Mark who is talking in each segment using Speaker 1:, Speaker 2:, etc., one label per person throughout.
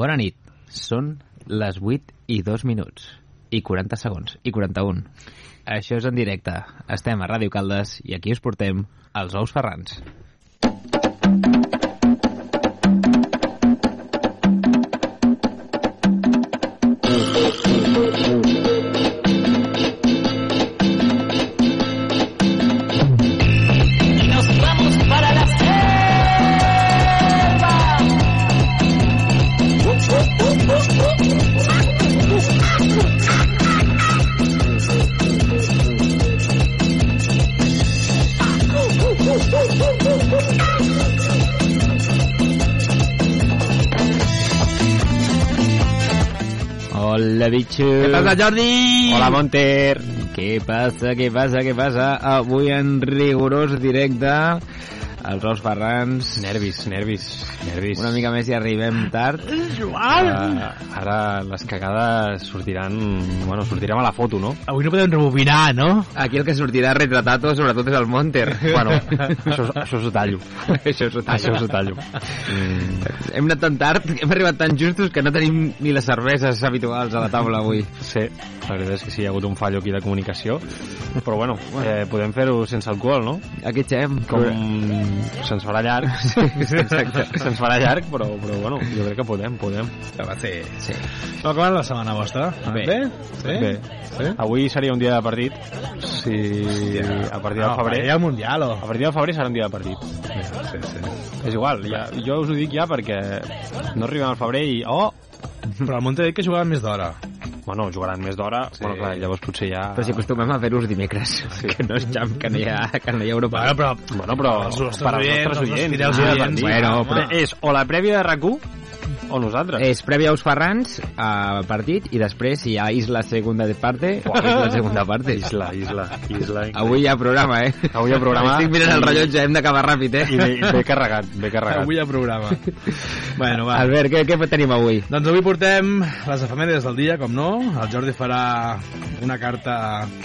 Speaker 1: Bona nit. Són les 8 i 2 minuts i 40 segons i 41. Això és en directe. Estem a Ràdio Caldes i aquí us portem els ous ferrans.
Speaker 2: y nos vamos para la selva.
Speaker 1: Hola, bitxo!
Speaker 3: Què passa, Jordi?
Speaker 1: Hola, Monter! Què passa, què passa, què passa? Avui en rigorós directe els ous ferrans.
Speaker 3: Nervis, nervis, nervis.
Speaker 1: Una mica més i arribem tard.
Speaker 3: Ara, ara les cagades sortiran... Bueno, sortirem a la foto, no?
Speaker 4: Avui no podem rebobinar, no?
Speaker 1: Aquí el que sortirà retratat sobretot és el Monter.
Speaker 3: Bueno, això, això s'ho tallo.
Speaker 1: això és
Speaker 3: Això s'ho tallo. Mm,
Speaker 1: Hem anat tan tard, hem arribat tan justos que no tenim ni les cerveses habituals a la taula avui.
Speaker 3: sí, la veritat és que sí, hi ha hagut un fallo aquí de comunicació. Però bueno, eh, podem fer-ho sense alcohol, no?
Speaker 1: Aquí xem,
Speaker 3: Com...
Speaker 1: com...
Speaker 3: Se'ns farà llarg.
Speaker 1: exacte.
Speaker 3: Se'ns farà llarg, però, però bueno, jo crec que podem, podem.
Speaker 4: Que va ser...
Speaker 1: Sí.
Speaker 4: No ha acabat la setmana vostra?
Speaker 1: Bé.
Speaker 4: Bé? Sí?
Speaker 3: Bé.
Speaker 4: Sí?
Speaker 3: Avui seria un dia de partit. Si a partir del
Speaker 4: no,
Speaker 3: febrer...
Speaker 4: Hi ha mundial, o...
Speaker 3: A partir del febrer serà un dia de partit.
Speaker 4: Sí, sí.
Speaker 3: És igual, ja, jo us ho dic ja perquè no arribem al febrer i... Oh!
Speaker 4: Però el Monte ha dit que jugava més d'hora.
Speaker 3: Bueno, jugaran més d'hora, sí. bueno, clar, llavors potser ja...
Speaker 1: Però si acostumem a fer-ho els dimecres, sí. que no és xam, que no hi ha, que no hi ha Europa.
Speaker 4: Bueno, però...
Speaker 3: Bueno, però
Speaker 4: Els nostres
Speaker 3: per als
Speaker 4: oients,
Speaker 3: nostres
Speaker 4: els nostres
Speaker 3: oients,
Speaker 4: fidels
Speaker 3: un dia de
Speaker 4: oients.
Speaker 3: partit.
Speaker 1: Bueno, però-
Speaker 3: Eh, És o la prèvia de RAC1 o nosaltres.
Speaker 1: És prèvia a Us Ferrans, a partit, i després hi ha Isla Segunda de Parte, o Isla Segunda Parte.
Speaker 3: Isla, isla, isla.
Speaker 1: Avui hi ha programa, eh?
Speaker 3: Avui hi ha programa.
Speaker 1: Estic mirant el rellotge, hem d'acabar ràpid, eh?
Speaker 3: I ve, ve carregat, ve carregat.
Speaker 4: Avui hi ha programa. bueno, va.
Speaker 1: Albert, què, què tenim avui?
Speaker 4: Doncs avui portem les efemèrides del dia, com no. El Jordi farà una carta...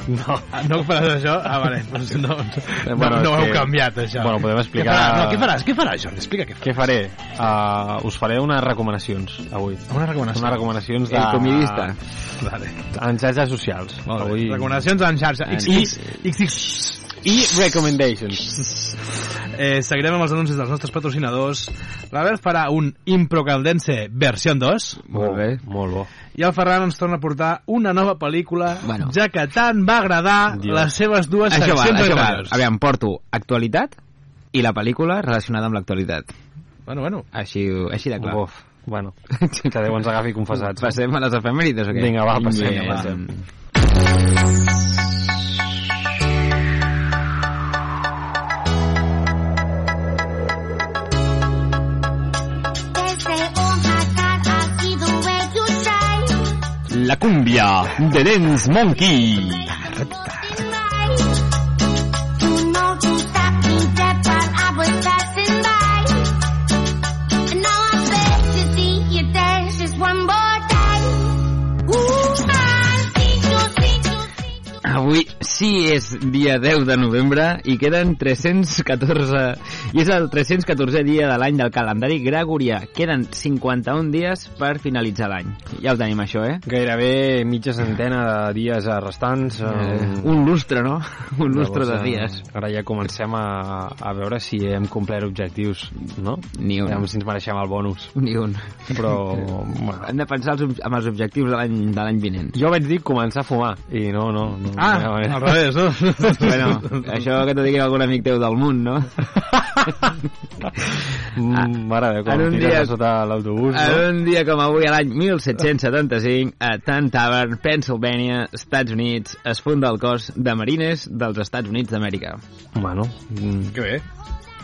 Speaker 4: No. No faràs això? Ah, vale. Doncs no, no,
Speaker 3: Bueno,
Speaker 4: bueno, no ho
Speaker 3: és
Speaker 4: heu
Speaker 3: que-
Speaker 4: canviat, això.
Speaker 3: Bueno, podem
Speaker 4: Què
Speaker 3: explicar-
Speaker 4: faràs? No, què faràs? Què faràs, Jordi? Explica què faràs.
Speaker 3: Què faré? Uh, us faré unes recomanacions, avui.
Speaker 4: Una recomanació.
Speaker 3: Unes recomanacions de...
Speaker 1: El comidista.
Speaker 4: Vale.
Speaker 3: En xarxes socials.
Speaker 4: Molt bé.
Speaker 3: Avui...
Speaker 4: Recomanacions en xarxa.
Speaker 1: En-
Speaker 4: XX, XX,
Speaker 3: I recommendations.
Speaker 4: Eh, seguirem amb els anuncis dels nostres patrocinadors. L'Albert farà un Improcaldense versió 2
Speaker 1: Molt bé.
Speaker 3: Molt bo.
Speaker 4: i el Ferran ens torna a portar una nova pel·lícula,
Speaker 1: Bueno.
Speaker 4: ja que tant va agradar
Speaker 3: Dios.
Speaker 4: les seves dues
Speaker 1: Això va,
Speaker 4: seccions
Speaker 1: això va.
Speaker 4: anteriors.
Speaker 1: Aviam, porto actualitat i la pel·lícula relacionada amb l'actualitat.
Speaker 4: Bueno, bueno.
Speaker 1: Així, així de clar.
Speaker 3: Uf, bueno, que Déu ens agafi confessats.
Speaker 1: Passem a les efemèrides o què?
Speaker 3: Vinga, va, passem,
Speaker 1: Vinga,
Speaker 3: passem.
Speaker 1: La cumbia de Dance Monkey.
Speaker 5: One more time. Ooh, I think you'll think you'll think.
Speaker 1: Avui sí és dia 10 de novembre i queden 314... I és el 314è dia de l'any del calendari gregorià. Queden 51 dies per finalitzar l'any. Ja ho tenim, això, eh?
Speaker 3: Gairebé mitja centena de dies restants.
Speaker 1: eh
Speaker 3: eh,
Speaker 1: un lustre, no? Un lustre de
Speaker 3: llavors, eh,
Speaker 1: dies.
Speaker 3: Ara ja comencem a, a veure si hem complert objectius, no?
Speaker 1: Ni un.
Speaker 3: Veiem si ens mereixem el bonus.
Speaker 1: Ni un.
Speaker 3: Però, bueno,
Speaker 1: Hem de pensar els, ob- amb els objectius de l'any de l'any vinent.
Speaker 3: jo vaig dir començar a fumar, i no, no. no
Speaker 4: Ah,
Speaker 3: no, eh,
Speaker 4: al revés, no?
Speaker 1: Bueno, això que t'ho digui algun amic teu del món, no?
Speaker 3: Mm, mare de
Speaker 1: en
Speaker 3: com
Speaker 1: un
Speaker 3: tires
Speaker 1: dia-
Speaker 3: a sota l'autobús,
Speaker 1: En
Speaker 3: Doncs no?
Speaker 1: un dia com avui, a l'any 1775, a Tan Tavern, Pennsylvania, Estats Units, es funda el cos de marines dels Estats Units d'Amèrica.
Speaker 3: Bueno, mm,
Speaker 4: Que bé.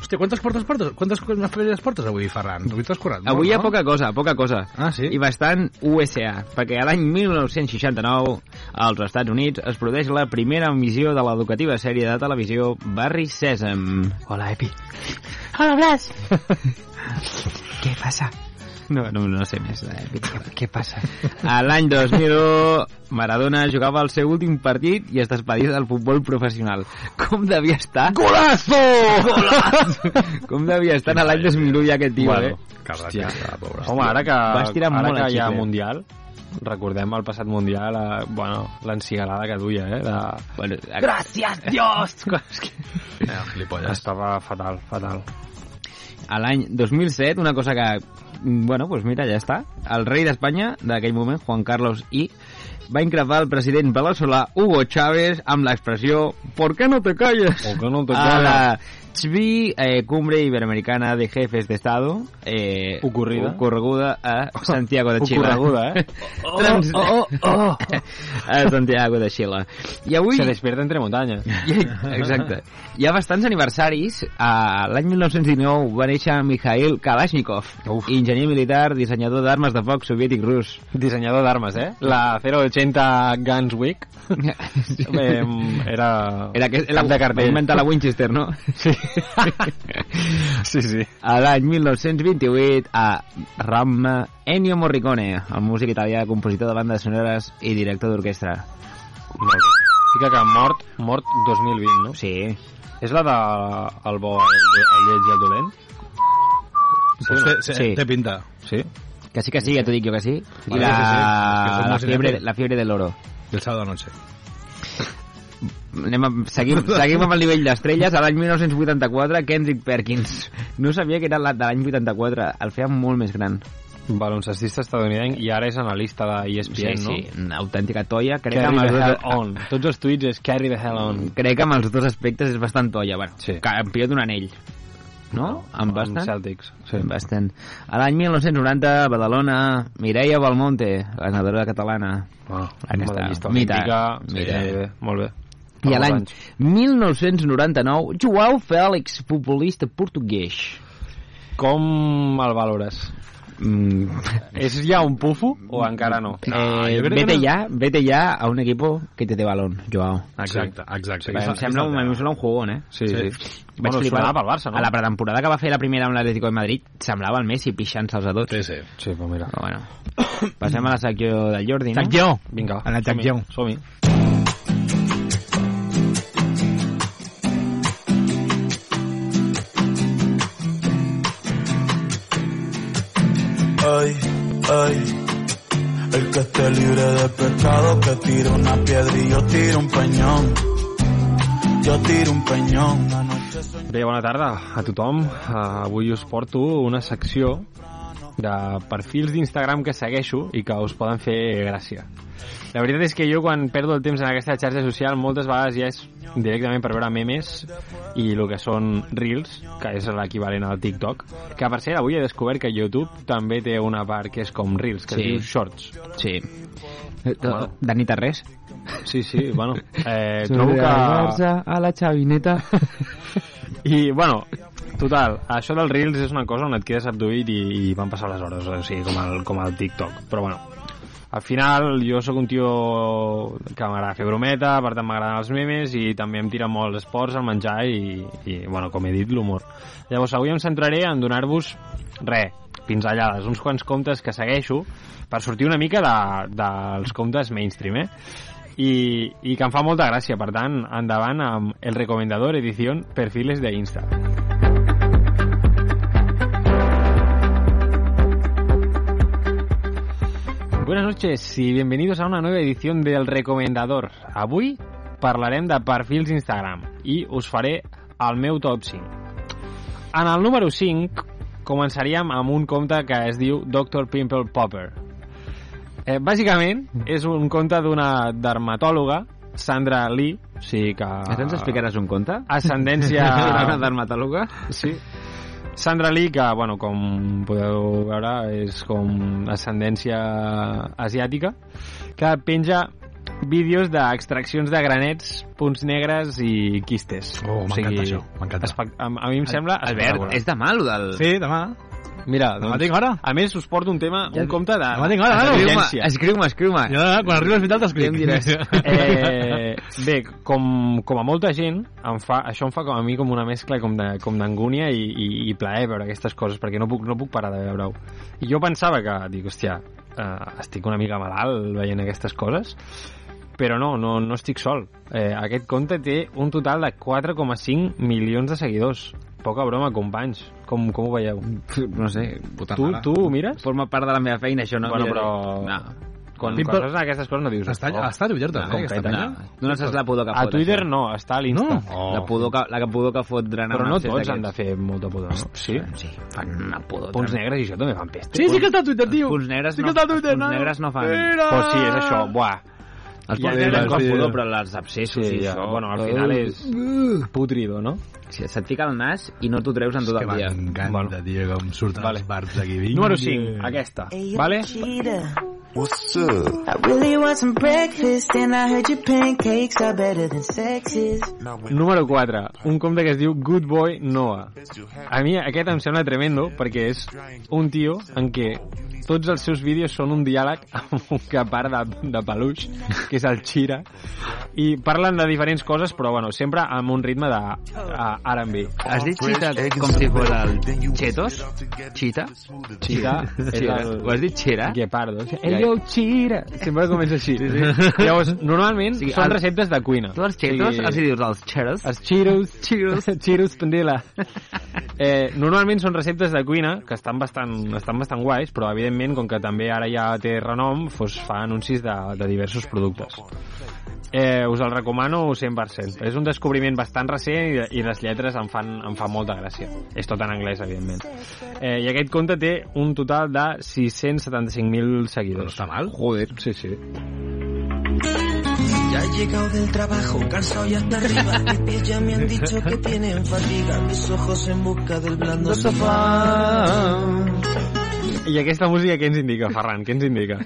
Speaker 4: Hòstia, quantes portes portes? Quantes ferides portes avui, Ferran? Avui t'has currat. molt,
Speaker 1: Avui hi ha
Speaker 4: no?
Speaker 1: poca cosa, poca cosa.
Speaker 4: Ah, sí?
Speaker 1: I bastant USA, perquè a l'any 1969, als Estats Units, es produeix la primera emissió de l'educativa sèrie de televisió Barri Sèsam. Hola, Epi. Hola, Blas. Què passa? No, no, no sé més. Eh? Què passa? A l'any 2001 Maradona jugava el seu últim partit i es despedia del futbol professional. Com devia estar...
Speaker 3: Golazo!
Speaker 1: Com devia estar a l'any 2001 ja aquest tio,
Speaker 3: Bueno,
Speaker 1: eh?
Speaker 4: Cabrat
Speaker 3: Hòstia.
Speaker 4: que està, pobre.
Speaker 3: Home, ara que,
Speaker 1: Vas tirar
Speaker 3: ara
Speaker 1: molt
Speaker 3: que
Speaker 1: el
Speaker 3: hi ha
Speaker 1: xicle.
Speaker 3: Mundial, recordem el passat Mundial, eh, bueno, l'encigalada que duia, eh? De...
Speaker 1: Bueno,
Speaker 3: Gràcies, Dios!
Speaker 4: Eh, el gilipolles.
Speaker 3: Estava fatal, fatal.
Speaker 1: a l'any 2007, una cosa que... mm, Bueno, pues mira, ja està. El rei d'Espanya, d'aquell moment, Juan Carlos I, va increpar el president veneçolà Hugo Chávez amb l'expressió ¿Por qué no te calles?
Speaker 3: O que no te
Speaker 1: a
Speaker 3: calles.
Speaker 1: la CHBI, eh, Cumbre Iberoamericana de Jefes de Estado, eh,
Speaker 3: Ocorrida.
Speaker 1: ocorreguda a Santiago de Xile.
Speaker 3: Oh, Ocorreguda, eh?
Speaker 1: Trans-
Speaker 3: oh, oh, oh.
Speaker 1: a Santiago de Xile. I avui...
Speaker 3: Se despierta entre muntanyes.
Speaker 1: Exacte. Hi ha bastants aniversaris. A L'any 1919 va néixer Mikhail Kalashnikov,
Speaker 3: Uf.
Speaker 1: enginyer militar, dissenyador d'armes de foc soviètic rus.
Speaker 3: Dissenyador d'armes, eh? La 080 Guns Week eh, era...
Speaker 1: Era que era
Speaker 3: cap de
Speaker 1: Va
Speaker 3: cartell.
Speaker 1: inventar la Winchester, no?
Speaker 3: Sí. sí, sí.
Speaker 1: A l'any 1928 a Ramma Ennio Morricone, el músic italià, compositor de bandes sonores i director d'orquestra.
Speaker 3: Molt bé. Fica que mort, mort 2020, no?
Speaker 1: Sí.
Speaker 3: És la de el bo, el, el lleig i el dolent?
Speaker 4: Pues té,
Speaker 1: Sí.
Speaker 4: sí. eh, té pinta.
Speaker 3: Sí?
Speaker 1: Que sí que sí, ja t'ho dic jo que sí. I
Speaker 4: Vale,
Speaker 1: la,
Speaker 4: sí, sí. És que és un
Speaker 1: la,
Speaker 4: músic
Speaker 1: fiebre,
Speaker 4: italià.
Speaker 1: la fiebre de l'oro.
Speaker 4: El sábado noche.
Speaker 1: Anem a, seguim, seguim amb el nivell d'estrelles. A l'any 1984, Kendrick Perkins. No sabia que era la de l'any 84. El feia molt més gran.
Speaker 3: Baloncestista estadounidenc i ara és analista de E
Speaker 1: sí,
Speaker 3: ESPN, no?
Speaker 1: sí, una autèntica toia. Crec que,
Speaker 3: Carry
Speaker 1: amb
Speaker 3: the
Speaker 1: els
Speaker 3: hell
Speaker 1: dos,
Speaker 3: on. Tots els tuits és carry the hell on.
Speaker 1: crec que amb els dos aspectes és bastant toia. Bueno,
Speaker 3: Sí.
Speaker 1: Campió d'un anell. No? Amb
Speaker 3: Amb
Speaker 1: bastant?
Speaker 3: Celtics. Sí.
Speaker 1: Amb bastant. A l'any 1990, a Badalona, Mireia Balmonte, la nedadora catalana.
Speaker 3: Ah,
Speaker 1: Ara està.
Speaker 3: medallista
Speaker 1: Mita.
Speaker 3: olímpica.
Speaker 1: Mita.
Speaker 3: Sí, molt bé.
Speaker 1: I a
Speaker 3: Fa molts
Speaker 1: l'any
Speaker 3: anys.
Speaker 1: 1999, Joao Félix, futbolista portuguès.
Speaker 3: Com el valores?
Speaker 1: Mm,
Speaker 3: És ja un pufo o encara no?
Speaker 4: No,
Speaker 1: eh,
Speaker 4: jo crec que
Speaker 1: vete
Speaker 4: no.
Speaker 1: ya, vete ya a un equipo que te dé balón, Joao.
Speaker 4: Exacte, exacte.
Speaker 1: Perquè em sembla, un, em sembla un jugón, eh?
Speaker 3: Sí,
Speaker 4: Sí.
Speaker 3: sí.
Speaker 1: Vaig
Speaker 3: Bueno,
Speaker 1: flipar.
Speaker 3: sonava pel Barça, no?
Speaker 1: A la pretemporada que va fer la primera amb l'Atlético de Madrid, semblava el Messi pixant-se'ls a tots.
Speaker 4: Sí, sí.
Speaker 3: Sí, però mira.
Speaker 1: Però bueno, passem a la secció del Jordi, no?
Speaker 4: Tactió.
Speaker 3: Vinga,
Speaker 4: En el
Speaker 3: som-hi,
Speaker 4: tactió.
Speaker 3: som-hi.
Speaker 6: Ay, ay, el que esté libre de pecado, que tire una piedra y yo tiro un peñón. Yo tiro un peñón. La noche soñé-
Speaker 3: Bé, bona tarda a tothom. Uh, avui us porto una secció de perfils d'Instagram que segueixo i que us poden fer gràcia. La veritat és que jo quan perdo el temps en aquesta xarxa social moltes vegades ja és directament per veure memes i el que són Reels, que és l'equivalent al TikTok, que per cert avui he descobert que YouTube també té una part que és com Reels, que
Speaker 1: Sí.
Speaker 3: sí. es diu Shorts.
Speaker 1: Sí. Eh, De nit a res.
Speaker 3: Sí, sí, bueno, eh, trobo que...
Speaker 1: a la xavineta.
Speaker 3: I, bueno, total, això dels Reels és una cosa on et quedes abduït i, i van passar les hores, o sigui, com el, com el TikTok. Però, bueno, al final jo sóc un tio que m'agrada fer brometa, per tant m'agraden els memes i també em tira molt els esports, el menjar i, i bueno, com he dit, l'humor. Llavors, avui em centraré en donar-vos, re, pinzellades, uns quants comptes que segueixo per sortir una mica de, dels comptes mainstream, eh? I, i que em fa molta gràcia, per tant, endavant amb El Recomendador Edició Perfiles de Insta. Buenas noches y bienvenidos a una nueva edición del Recomendador. Avui parlarem de perfils Instagram i us faré el meu top 5. En el número 5 començaríem amb un compte que es diu Dr. Pimple Popper. Eh, bàsicament, és un conte d'una dermatòloga, Sandra Lee, o sigui que...
Speaker 1: Ara ens explicaràs un conte?
Speaker 3: Ascendència...
Speaker 1: Una dermatòloga?
Speaker 3: Sí. Sandra Lee, que, bueno, com podeu veure, és com ascendència asiàtica, que penja vídeos d'extraccions de granets, punts negres i quistes.
Speaker 4: Oh, m'encanta això, m'encanta.
Speaker 3: espec- A, a mi em sembla
Speaker 1: Albert,
Speaker 3: espectacular.
Speaker 1: és de mal o del...
Speaker 4: Sí, demà.
Speaker 3: Mira, doncs,
Speaker 4: Demà Ah, tinc hora.
Speaker 3: a més, us porto un tema,
Speaker 1: Ja-
Speaker 3: un compte de...
Speaker 4: Demà tinc hora, ara.
Speaker 1: Escriu-me,
Speaker 3: d'urgència.
Speaker 1: escriu-me, escriu-me.
Speaker 4: Jo, quan arribi al final
Speaker 1: Ja Ah. em diràs.
Speaker 4: t'escric.
Speaker 3: Eh, bé, com, com a molta gent, em fa, això em fa com a mi com una mescla com de- com d'angúnia i, i, i plaer veure aquestes coses, perquè no puc, no puc parar de veure-ho. I jo pensava que, dic, hòstia, eh, estic una mica malalt veient aquestes coses, però no, no, no estic sol. Eh, aquest compte té un total de 4,5 milions de seguidors. Poca broma, companys. Com, com ho veieu?
Speaker 1: No sé,
Speaker 4: Puta
Speaker 3: Tu,
Speaker 4: mare.
Speaker 3: tu ho mires?
Speaker 1: forma part de la meva feina, això no...
Speaker 3: Bueno,
Speaker 1: Mira,
Speaker 3: però-
Speaker 1: No.
Speaker 3: Quan
Speaker 4: Pimple-
Speaker 3: coses aquestes coses no dius...
Speaker 4: Està,
Speaker 3: "Oh".
Speaker 4: està obert,
Speaker 3: Com
Speaker 4: també, aquesta
Speaker 3: peta.
Speaker 4: penya?
Speaker 1: No, no saps la pudor que
Speaker 3: A
Speaker 1: fot,
Speaker 3: Twitter
Speaker 1: això.
Speaker 3: no, està a l'Insta.
Speaker 4: No?
Speaker 3: eh? Oh.
Speaker 1: La pudor que, la que pudor que fot drenar
Speaker 3: Però
Speaker 1: un
Speaker 3: no
Speaker 1: abscés
Speaker 3: tots han de
Speaker 1: d'aquests.
Speaker 3: fer molta pudor, no? Sí?
Speaker 1: Sí, fan una pudor.
Speaker 3: Pons
Speaker 1: tremenda.
Speaker 3: negres i això també fan pesta.
Speaker 4: Sí, sí que està a Twitter, tio.
Speaker 1: Els punts negres
Speaker 4: sí
Speaker 1: no-
Speaker 4: que està a Twitter,
Speaker 1: els punts
Speaker 4: no?
Speaker 1: negres no fan.
Speaker 4: Mira!
Speaker 3: Pues Oh, sí, és això, buah.
Speaker 1: Els
Speaker 4: Ja,
Speaker 1: punts
Speaker 4: ja,
Speaker 1: negres
Speaker 4: ja,
Speaker 1: no fan
Speaker 4: sí.
Speaker 1: pudor, però els abscessos
Speaker 3: Sí,
Speaker 1: i
Speaker 3: ja.
Speaker 1: això... Eh,
Speaker 3: Bueno, al final és putrido, no?
Speaker 1: Si se't fica al nas i no t'ho treus en tot
Speaker 4: Que
Speaker 1: el dia.
Speaker 4: m'encanta,
Speaker 3: Bueno.
Speaker 4: tio, com surten
Speaker 3: Vale.
Speaker 4: els barbs aquí. Vinga.
Speaker 3: Número 5, aquesta, vale?
Speaker 7: Cheetah.
Speaker 6: What's up?
Speaker 7: I really want some breakfast and I heard your pancakes are better than sexes.
Speaker 3: Número 4, un compte que es diu Good Boy Noah. A mi aquest em sembla tremendo perquè és un tio en què tots els seus vídeos són un diàleg amb un capar de, de peluix, que és el Chira, i parlen de diferents coses, però bueno, sempre amb un ritme de eh, R&B.
Speaker 1: Has dit xita com si fos el Chetos? Xita?
Speaker 3: Chira és
Speaker 1: Xira.
Speaker 3: el...
Speaker 1: Ho has dit xera?
Speaker 3: Guepardo.
Speaker 1: Ja,
Speaker 3: Ei,
Speaker 1: ja.
Speaker 3: yo, Chira! Sempre comença així. Sí, sí. Llavors, normalment
Speaker 1: sigui,
Speaker 3: són
Speaker 1: el-
Speaker 3: receptes de cuina.
Speaker 1: Tu als Chetos
Speaker 3: Sí.
Speaker 1: els hi dius els Cheros?
Speaker 3: Els Cheetos, Cheetos, Cheetos Pandela. Eh, normalment són receptes de cuina que estan bastant, estan bastant guais, però evidentment, com que també ara ja té renom, doncs fa anuncis de, de diversos productes. Eh, us el recomano 100%. És un descobriment bastant recent i, i les lletres em fan, em fan molta gràcia. És tot en anglès, evidentment. Eh, I aquest compte té un total de 675.000 seguidors.
Speaker 4: Està mal?
Speaker 3: Joder. Sí, sí.
Speaker 7: Ya he llegado del trabajo, cansado y hasta arriba. Mis ya me han dicho que tienen fatiga. Mis ojos en busca del blando sofá.
Speaker 3: I aquesta música què ens indica, Ferran? Què ens indica?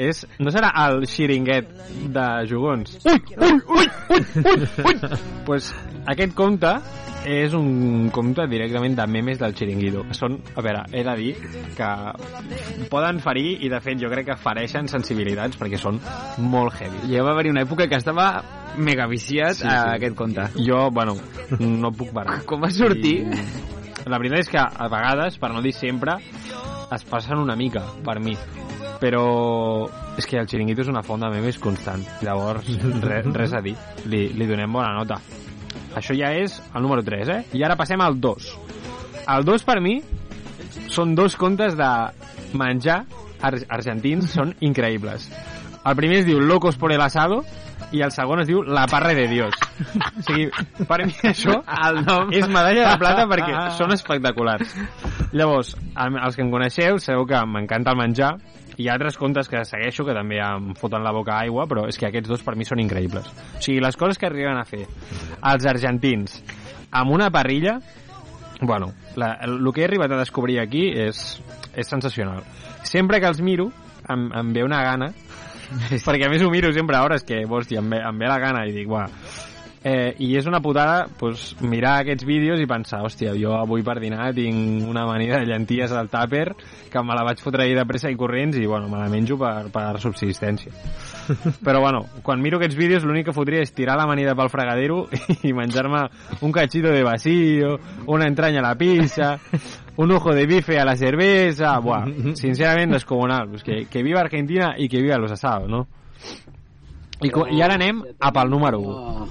Speaker 3: És, no serà el xiringuet de jugons? Ui, ui, ui, ui, ui, ui! pues aquest compte és un compte directament de memes del xiringuito. Són, a veure, he de dir que poden ferir i de fet jo crec que fereixen sensibilitats perquè són molt heavy.
Speaker 1: Ja va haver-hi una època que estava mega viciat
Speaker 3: Sí, sí.
Speaker 1: a aquest compte.
Speaker 3: Jo, bueno, no puc parar.
Speaker 1: Com va sortir?
Speaker 3: I la veritat és que a vegades, per no dir sempre, es passen una mica, per mi. Però és que el xiringuito és una font de memes constant. Llavors, re, res a dir. Li, li donem bona nota. Això ja és el número 3, eh? I ara passem al 2. El 2, per mi, són dos comptes de menjar ar argentins, són increïbles. El primer es diu Locos por el asado i el segon es diu La parre de Dios. O sigui, per mi això
Speaker 1: El nom...
Speaker 3: és medalla de plata perquè són espectaculars. Llavors, am- els que em coneixeu sabeu que m'encanta el menjar i hi ha altres comptes que segueixo que també em foten la boca aigua, però és que aquests dos per mi són increïbles. O sigui, les coses que arriben a fer els argentins amb una parrilla, bueno, la, el, el que he arribat a descobrir aquí és, és sensacional. Sempre que els miro, em, em ve una gana perquè a més ho miro sempre a hores que, hòstia, em ve, em ve la gana i dic, buah. Eh, I és una putada pues, mirar aquests vídeos i pensar, hòstia, jo avui per dinar tinc una amanida de llenties al tàper que me la vaig fotre ahir de pressa i corrents i, bueno, me la menjo per, per subsistència. Però, bueno, quan miro aquests vídeos l'únic que fotria és tirar l'amanida pel fregadero i menjar-me un cachito de vacío, una entranya a la pizza, un ojo de bife a la cervesa... Buah, sincerament, descomunal. Pues que, que viva Argentina i que viva los asados, no? I, co- I ara anem a pel número 1.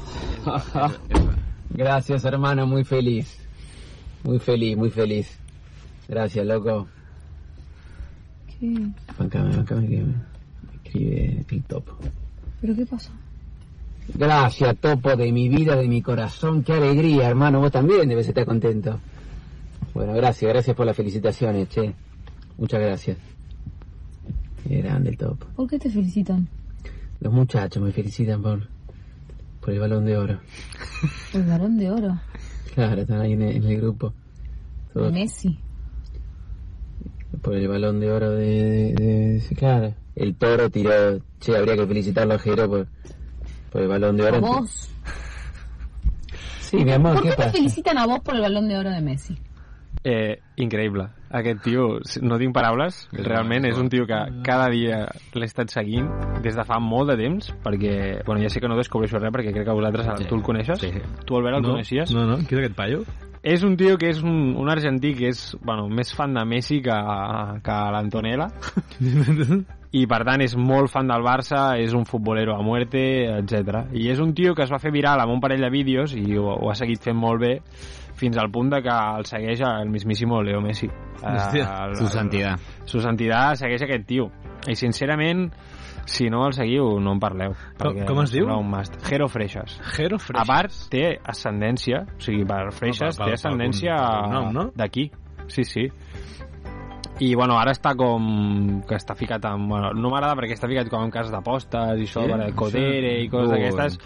Speaker 8: Gracias, hermano, muy feliz. Muy feliz, muy feliz. Gracias, loco.
Speaker 9: ¿Qué?
Speaker 8: Bancame, bancame que me escribe el topo.
Speaker 9: ¿Pero qué pasó?
Speaker 8: Gracias, topo de mi vida, de mi corazón. Qué alegría, hermano. Vos también debes estar contento. Bueno, gracias, gracias por las felicitaciones, che. Muchas gracias. Qué grande el topo.
Speaker 9: ¿Por qué te felicitan?
Speaker 8: Los muchachos me felicitan por, por el balón de oro.
Speaker 9: El varón de oro.
Speaker 8: Claro, están ahí en el, en el grupo.
Speaker 9: De
Speaker 8: Todos
Speaker 9: Messi.
Speaker 8: Por el balón de oro de, de, de- sí, claro. El toro tiró. Che, habría que felicitarlo a Jero por, por el balón de oro.
Speaker 9: A vos.
Speaker 8: Sí, mi amor,
Speaker 9: ¿Por
Speaker 8: ¿qué,
Speaker 9: qué te
Speaker 8: pasa?
Speaker 9: felicitan a vos por el balón de oro de Messi?
Speaker 3: Eh, increïble. Aquest tio, si- no tinc paraules, realment és un tio que cada dia l'he estat seguint des de fa molt de temps, perquè, bueno, ja sé que no descobreixo res, perquè crec que vosaltres, tu el coneixes?
Speaker 1: Sí, sí.
Speaker 3: Tu, Albert, el
Speaker 4: No,
Speaker 3: coneixies?
Speaker 4: no, no. Qui és aquest paio?
Speaker 3: És un tio que és un, un argentí que és bueno, més fan de Messi que, que l'Antonella i per tant és molt fan del Barça, és un futbolero a muerte, etc. I és un tio que es va fer viral amb un parell de vídeos i ho, ho ha seguit fent molt bé fins al punt de que el segueix el mismíssimo Leo Messi. Eh,
Speaker 4: Hòstia.
Speaker 3: el-
Speaker 1: Su santidad.
Speaker 3: Su santidad segueix aquest tio. I sincerament, si no el seguiu, no en parleu.
Speaker 4: Com-
Speaker 3: perquè
Speaker 4: com es
Speaker 3: em
Speaker 4: diu?
Speaker 3: sembla Un must. Jero Freixas.
Speaker 4: Jero
Speaker 3: A part, té ascendència, o sigui, per Freixas
Speaker 4: No, per- per-
Speaker 3: té ascendència
Speaker 4: per algun- per algun nom, no?
Speaker 3: d'aquí. Sí, sí. I, bueno, ara està com... que està ficat en... Bueno, no m'agrada perquè està ficat com en cases d'apostes i això,
Speaker 4: Sí,
Speaker 3: sí, per
Speaker 4: això-
Speaker 3: Codere i coses
Speaker 1: Ui.
Speaker 3: d'aquestes.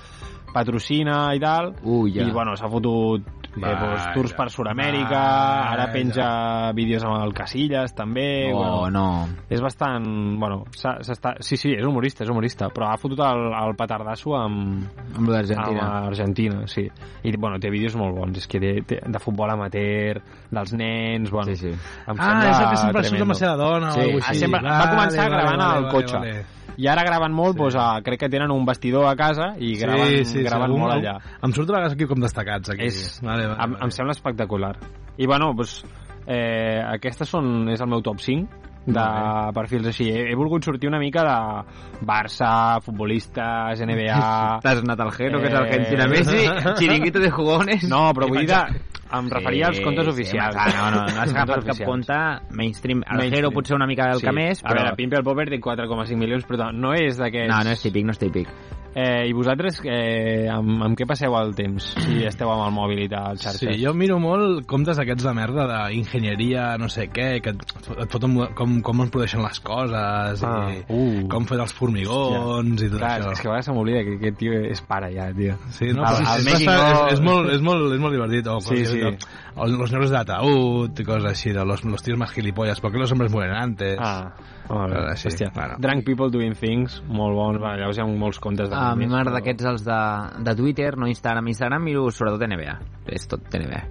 Speaker 3: Patrocina i tal.
Speaker 1: Ui, ja.
Speaker 3: I, bueno, s'ha fotut eh, doncs,
Speaker 4: Vaja,
Speaker 3: tours per Sud-amèrica, ara
Speaker 4: vaja.
Speaker 3: penja vídeos amb el Casillas, també.
Speaker 1: Oh,
Speaker 3: bueno,
Speaker 1: no.
Speaker 3: és bastant... Bueno, s'ha- s'està... Sí, sí, és humorista, és humorista, però ha fotut el, el petardasso amb,
Speaker 1: Amb lo d'Argentina.
Speaker 3: amb Argentina, sí. I, bueno, té vídeos molt bons, és que té, té de futbol amateur, dels nens, bueno...
Speaker 1: Sí, sí.
Speaker 3: Em
Speaker 4: Ah, és el que sempre surt
Speaker 3: tremendo.
Speaker 4: amb la seva dona
Speaker 1: Sí.
Speaker 4: o alguna
Speaker 1: Ah,
Speaker 4: cosa així.
Speaker 3: sempre- va començar gravant al cotxe. I ara graven molt, doncs, ah, crec que tenen un vestidor a casa i graven, graven
Speaker 4: algun-
Speaker 3: molt allà.
Speaker 4: Em surt a vegades aquí com destacats, aquí.
Speaker 3: És,
Speaker 4: Vale, vale,
Speaker 3: em,
Speaker 4: vale.
Speaker 3: em sembla espectacular. I, bueno, doncs, eh, aquestes són, és el meu top 5 de perfils així. He, he volgut sortir una mica de Barça, futbolistes, NBA...
Speaker 1: T'has anat al Jero, que és Argentina
Speaker 3: Eh.
Speaker 1: Messi, chiringuito de jugones...
Speaker 3: No, però
Speaker 1: I
Speaker 3: vull dir,
Speaker 1: pensar-
Speaker 3: de, em referia als comptes oficials.
Speaker 1: Sí, no, no, no has
Speaker 3: Als
Speaker 1: agafat
Speaker 3: comptes
Speaker 1: cap
Speaker 3: oficials.
Speaker 1: compte mainstream. El
Speaker 3: Mainstream.
Speaker 1: Jero potser una mica del que més,
Speaker 3: A
Speaker 1: però...
Speaker 3: veure, Pimple Popper té 4,5 milions, però no és d'aquests...
Speaker 1: No, no és típic, no és típic.
Speaker 3: Eh, I vosaltres, eh, amb, amb què passeu el temps? Si esteu amb el mòbil i tal, xarxes.
Speaker 4: Sí, jo miro molt comptes aquests de merda d'enginyeria, no sé què, que et fo- et foten com, com es produeixen les coses,
Speaker 3: Ah,
Speaker 4: i
Speaker 3: uh.
Speaker 4: com fer els formigons i tot
Speaker 3: Clar,
Speaker 4: això.
Speaker 3: és que a vegades se m'oblida que aquest tio és pare ja, tio.
Speaker 4: Sí, no,
Speaker 3: Al-
Speaker 4: però
Speaker 3: al
Speaker 4: sí, sí,
Speaker 3: Making
Speaker 4: és, bastant-
Speaker 3: of-
Speaker 4: és, és, molt, és, molt, és molt divertit. O,
Speaker 3: Sí,
Speaker 4: cosas
Speaker 3: sí.
Speaker 4: así, O, los negros de ataúd y cosas así, de los, los tíos más gilipollas. ¿Por qué los hombres mueren antes?
Speaker 3: Ah, molt bé,
Speaker 4: Ara sí,
Speaker 3: hòstia.
Speaker 4: bueno.
Speaker 3: Drunk People Doing Things, molt bons. Bueno, llavors hi ha molts contes de...
Speaker 1: Ah, A mi
Speaker 3: més,
Speaker 1: m'agrada
Speaker 3: però-
Speaker 1: aquests els de, de Twitter, no Instagram. Instagram miro sobretot NBA. És tot NBA.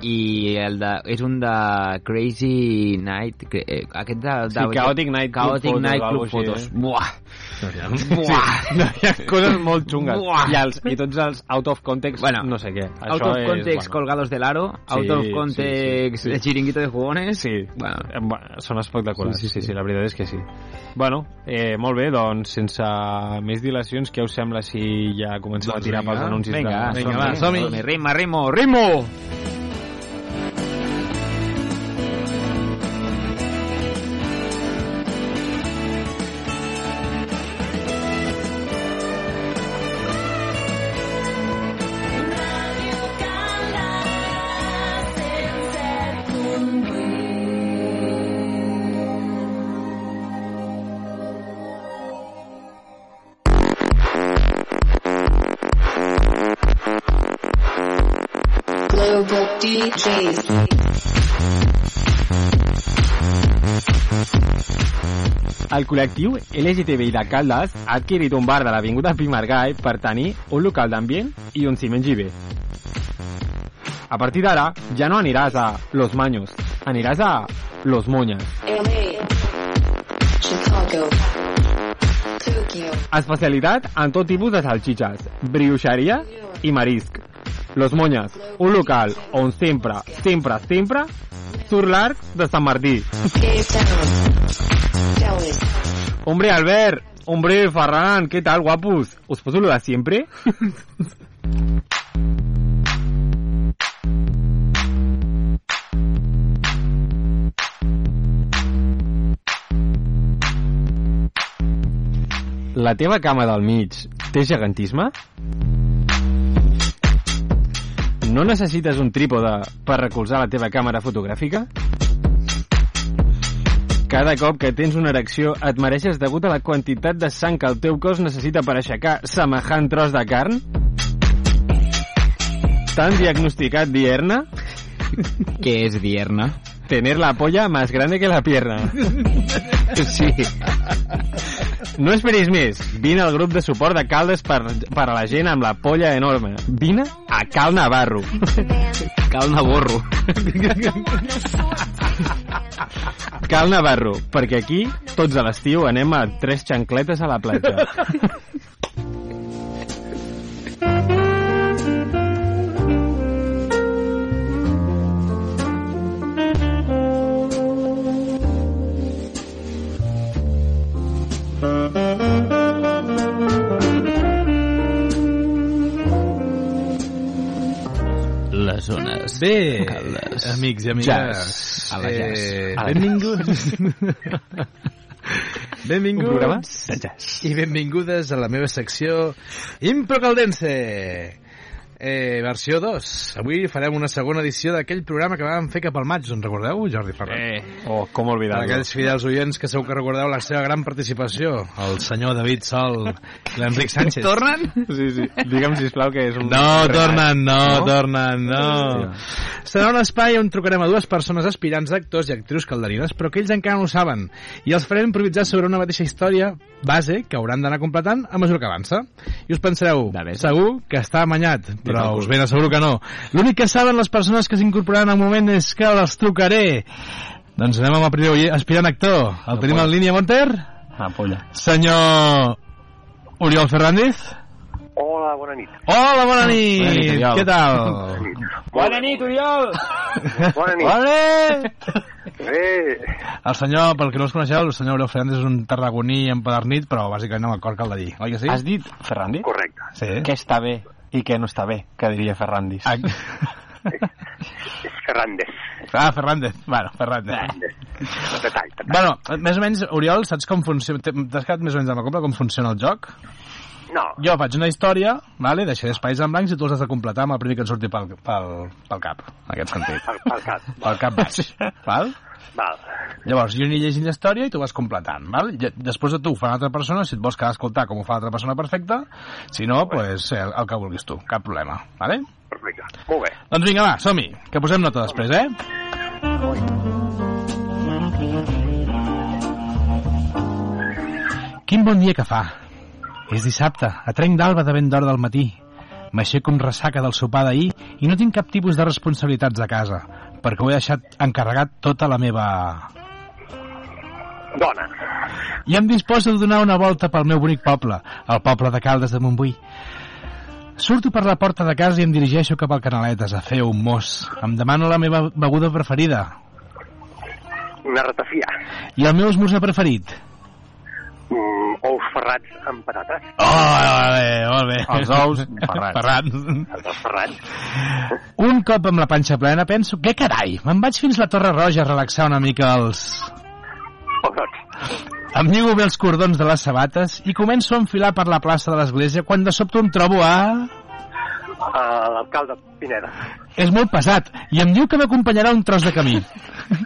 Speaker 1: I el de, és un de Crazy Night... cre- eh, Aquest de... de
Speaker 3: Sí, Chaotic Night Club
Speaker 1: Chaotic
Speaker 3: Photos,
Speaker 1: Night
Speaker 3: o
Speaker 1: Club
Speaker 3: alguna cosa
Speaker 1: Photos.
Speaker 3: així, eh?
Speaker 1: Buah!
Speaker 4: Sí.
Speaker 1: Buah!
Speaker 3: No, hi ha coses molt xungues.
Speaker 1: Buah.
Speaker 3: I, els, I tots els out of context,
Speaker 1: Bueno,
Speaker 3: bueno, no sé què.
Speaker 1: Out of context colgados del aro, out of
Speaker 3: sí,
Speaker 1: context
Speaker 3: sí, sí.
Speaker 1: de chiringuito de jugones.
Speaker 3: Sí,
Speaker 1: Bueno,
Speaker 3: bueno, són espectaculars, sí sí, sí, la veritat és que sí. Bueno, eh, molt bé, doncs, sense més dilacions, què us sembla si ja comencem
Speaker 4: Doncs
Speaker 3: a tirar
Speaker 4: vinga.
Speaker 3: pels anuncis?
Speaker 1: venga,
Speaker 3: de...
Speaker 4: vinga, va, som-hi.
Speaker 1: som-hi. Ritmo, ritmo, ritmo!
Speaker 5: Global DJs.
Speaker 3: El col·lectiu LGTBI de Caldes ha adquirit un bar de l'Avinguda Pimargall per tenir un local d'ambient i un ciment GB. A partir d'ara, ja no aniràs a Los Maños, aniràs a Los Moñas.
Speaker 5: LA. Chicago. Tokyo.
Speaker 3: Especialitat en tot tipus de salxitxes, brioixeria i marisc. Los Moñas, un local on sempre, sempre, sempre surt l'arc de Sant Martí.
Speaker 5: Cape Town. Dallas.
Speaker 3: Hombre, Albert, hombre, Ferran, què tal, guapos? Us poso lo de sempre? La teva cama del mig té gegantisme? No necessites un trípode per recolzar la teva càmera fotogràfica? Cada cop que tens una erecció et mereixes degut a la quantitat de sang que el teu cos necessita per aixecar semejant tros de carn? T'han diagnosticat dierna?
Speaker 1: Que és dierna.
Speaker 3: Tener la polla más grande que la pierna.
Speaker 1: Sí.
Speaker 3: No esperis més. Vine al grup de suport de Caldes per, per a la gent amb la polla enorme. Vine a Cal Navarro.
Speaker 1: Cal una borro.
Speaker 3: Cal Navarro, perquè aquí, tots a l'estiu, anem a tres xancletes a la platja.
Speaker 1: Les zones.
Speaker 4: Bé,
Speaker 1: Carles.
Speaker 4: amics i amigues.
Speaker 1: Jazz. A la jazz.
Speaker 4: Eh,
Speaker 1: A la
Speaker 4: benvinguts.
Speaker 3: Un programa
Speaker 4: benvinguts
Speaker 3: de jazz.
Speaker 4: i benvingudes a la meva secció Improcaldense. Eh, versió 2. Avui farem una segona edició d'aquell programa que vam fer cap al maig, en recordeu, Jordi Ferrer?
Speaker 3: Eh, oh, com
Speaker 4: Per
Speaker 3: oblidar-lo.
Speaker 4: aquells fidels oients que segur que recordeu la seva gran participació, el senyor David Sol i l'Enric Sánchez.
Speaker 1: Tornen?
Speaker 3: Sí, sí. Digue'm, sisplau, que és un...
Speaker 4: No,
Speaker 3: remate.
Speaker 4: tornen, no, tornen, no.
Speaker 3: Hòstia.
Speaker 4: Serà un espai on trucarem a dues persones aspirants d'actors i actrius calderines, però que ells encara no ho saben, i els farem improvisar sobre una mateixa història base que hauran d'anar completant a mesura que avança. I us pensareu,
Speaker 1: De veres.
Speaker 4: segur que està amanyat, però us ben asseguro que no. L'únic que saben les persones que s'incorporaran al moment és que les trucaré. Doncs anem amb el primer oient- aspirant actor. El
Speaker 3: No
Speaker 4: tenim
Speaker 3: pot.
Speaker 4: en línia, Monter?
Speaker 3: Ah, polla.
Speaker 4: Senyor Oriol Fernández?
Speaker 10: Hola, bona nit.
Speaker 4: Hola, bona nit!
Speaker 3: Bona nit, Oriol.
Speaker 4: Què tal?
Speaker 10: Bona nit, Oriol! Bona nit.
Speaker 4: Ole!
Speaker 10: Bé,
Speaker 4: El senyor, pel que no us coneixeu, el senyor Aureu Fernández és un tarragoní empadernit, però bàsicament amb el cor calderí, oi que sí?
Speaker 3: Has dit Ferrandi?
Speaker 10: correcte.
Speaker 4: Sí.
Speaker 3: Què està bé i què no està bé, que diria Ferrandis.
Speaker 4: Eh? Ah,
Speaker 10: És Fernández.
Speaker 4: ah, Fernández. Bueno, Fernández.
Speaker 10: Detall, detall.
Speaker 4: Bueno, més o menys, Oriol, saps com funciona... T'has quedat més o menys amb la compra, com funciona el joc?
Speaker 10: No,
Speaker 4: Jo faig una història, vale? deixaré espais en blancs i tu els has de completar amb el primer que et surti pel, pel, pel cap, en aquest sentit.
Speaker 10: al, al cap.
Speaker 4: Pel cap baix, val?
Speaker 10: Val.
Speaker 4: Llavors, jo aniré llegint la història i tu vas completant, val? Ja- Després de tu ho fa una altra persona, si et vols quedar a escoltar com ho fa l'altra persona, perfecte. Si no, doncs pues, el, el que vulguis tu, cap problema, vale?
Speaker 10: Perfecte. Molt bé.
Speaker 4: Doncs vinga, va, som-hi, que posem nota després, eh? Quin bon dia que fa. És dissabte, a trenc d'alba de ben d'hora del matí. M'aixeco amb ressaca del sopar d'ahir i no tinc cap tipus de responsabilitats a casa, perquè ho he deixat encarregat tota la meva...
Speaker 10: Dona.
Speaker 4: i em disposo de donar una volta pel meu bonic poble, el poble de Caldes de Montbui. Surto per la porta de casa i em dirigeixo cap al Canaletes a fer un mos. Em demano la meva beguda preferida
Speaker 10: Una ratafia.
Speaker 4: i el meu esmorzar preferit.
Speaker 10: Mm, ous ferrats amb patates.
Speaker 4: Oh, molt bé, molt bé.
Speaker 3: Els ous ferrats.
Speaker 4: Ferrats.
Speaker 10: Els ous ferrats.
Speaker 4: Un cop amb la panxa plena penso, que carai, me'n vaig fins la Torre Roja a relaxar una mica els...
Speaker 10: O tots.
Speaker 4: Em lligo bé els cordons de les sabates i començo a enfilar per la plaça de l'església quan de sobte em trobo a...
Speaker 10: A l'alcalde Pineda.
Speaker 4: És molt pesat i em diu que m'acompanyarà un tros de camí.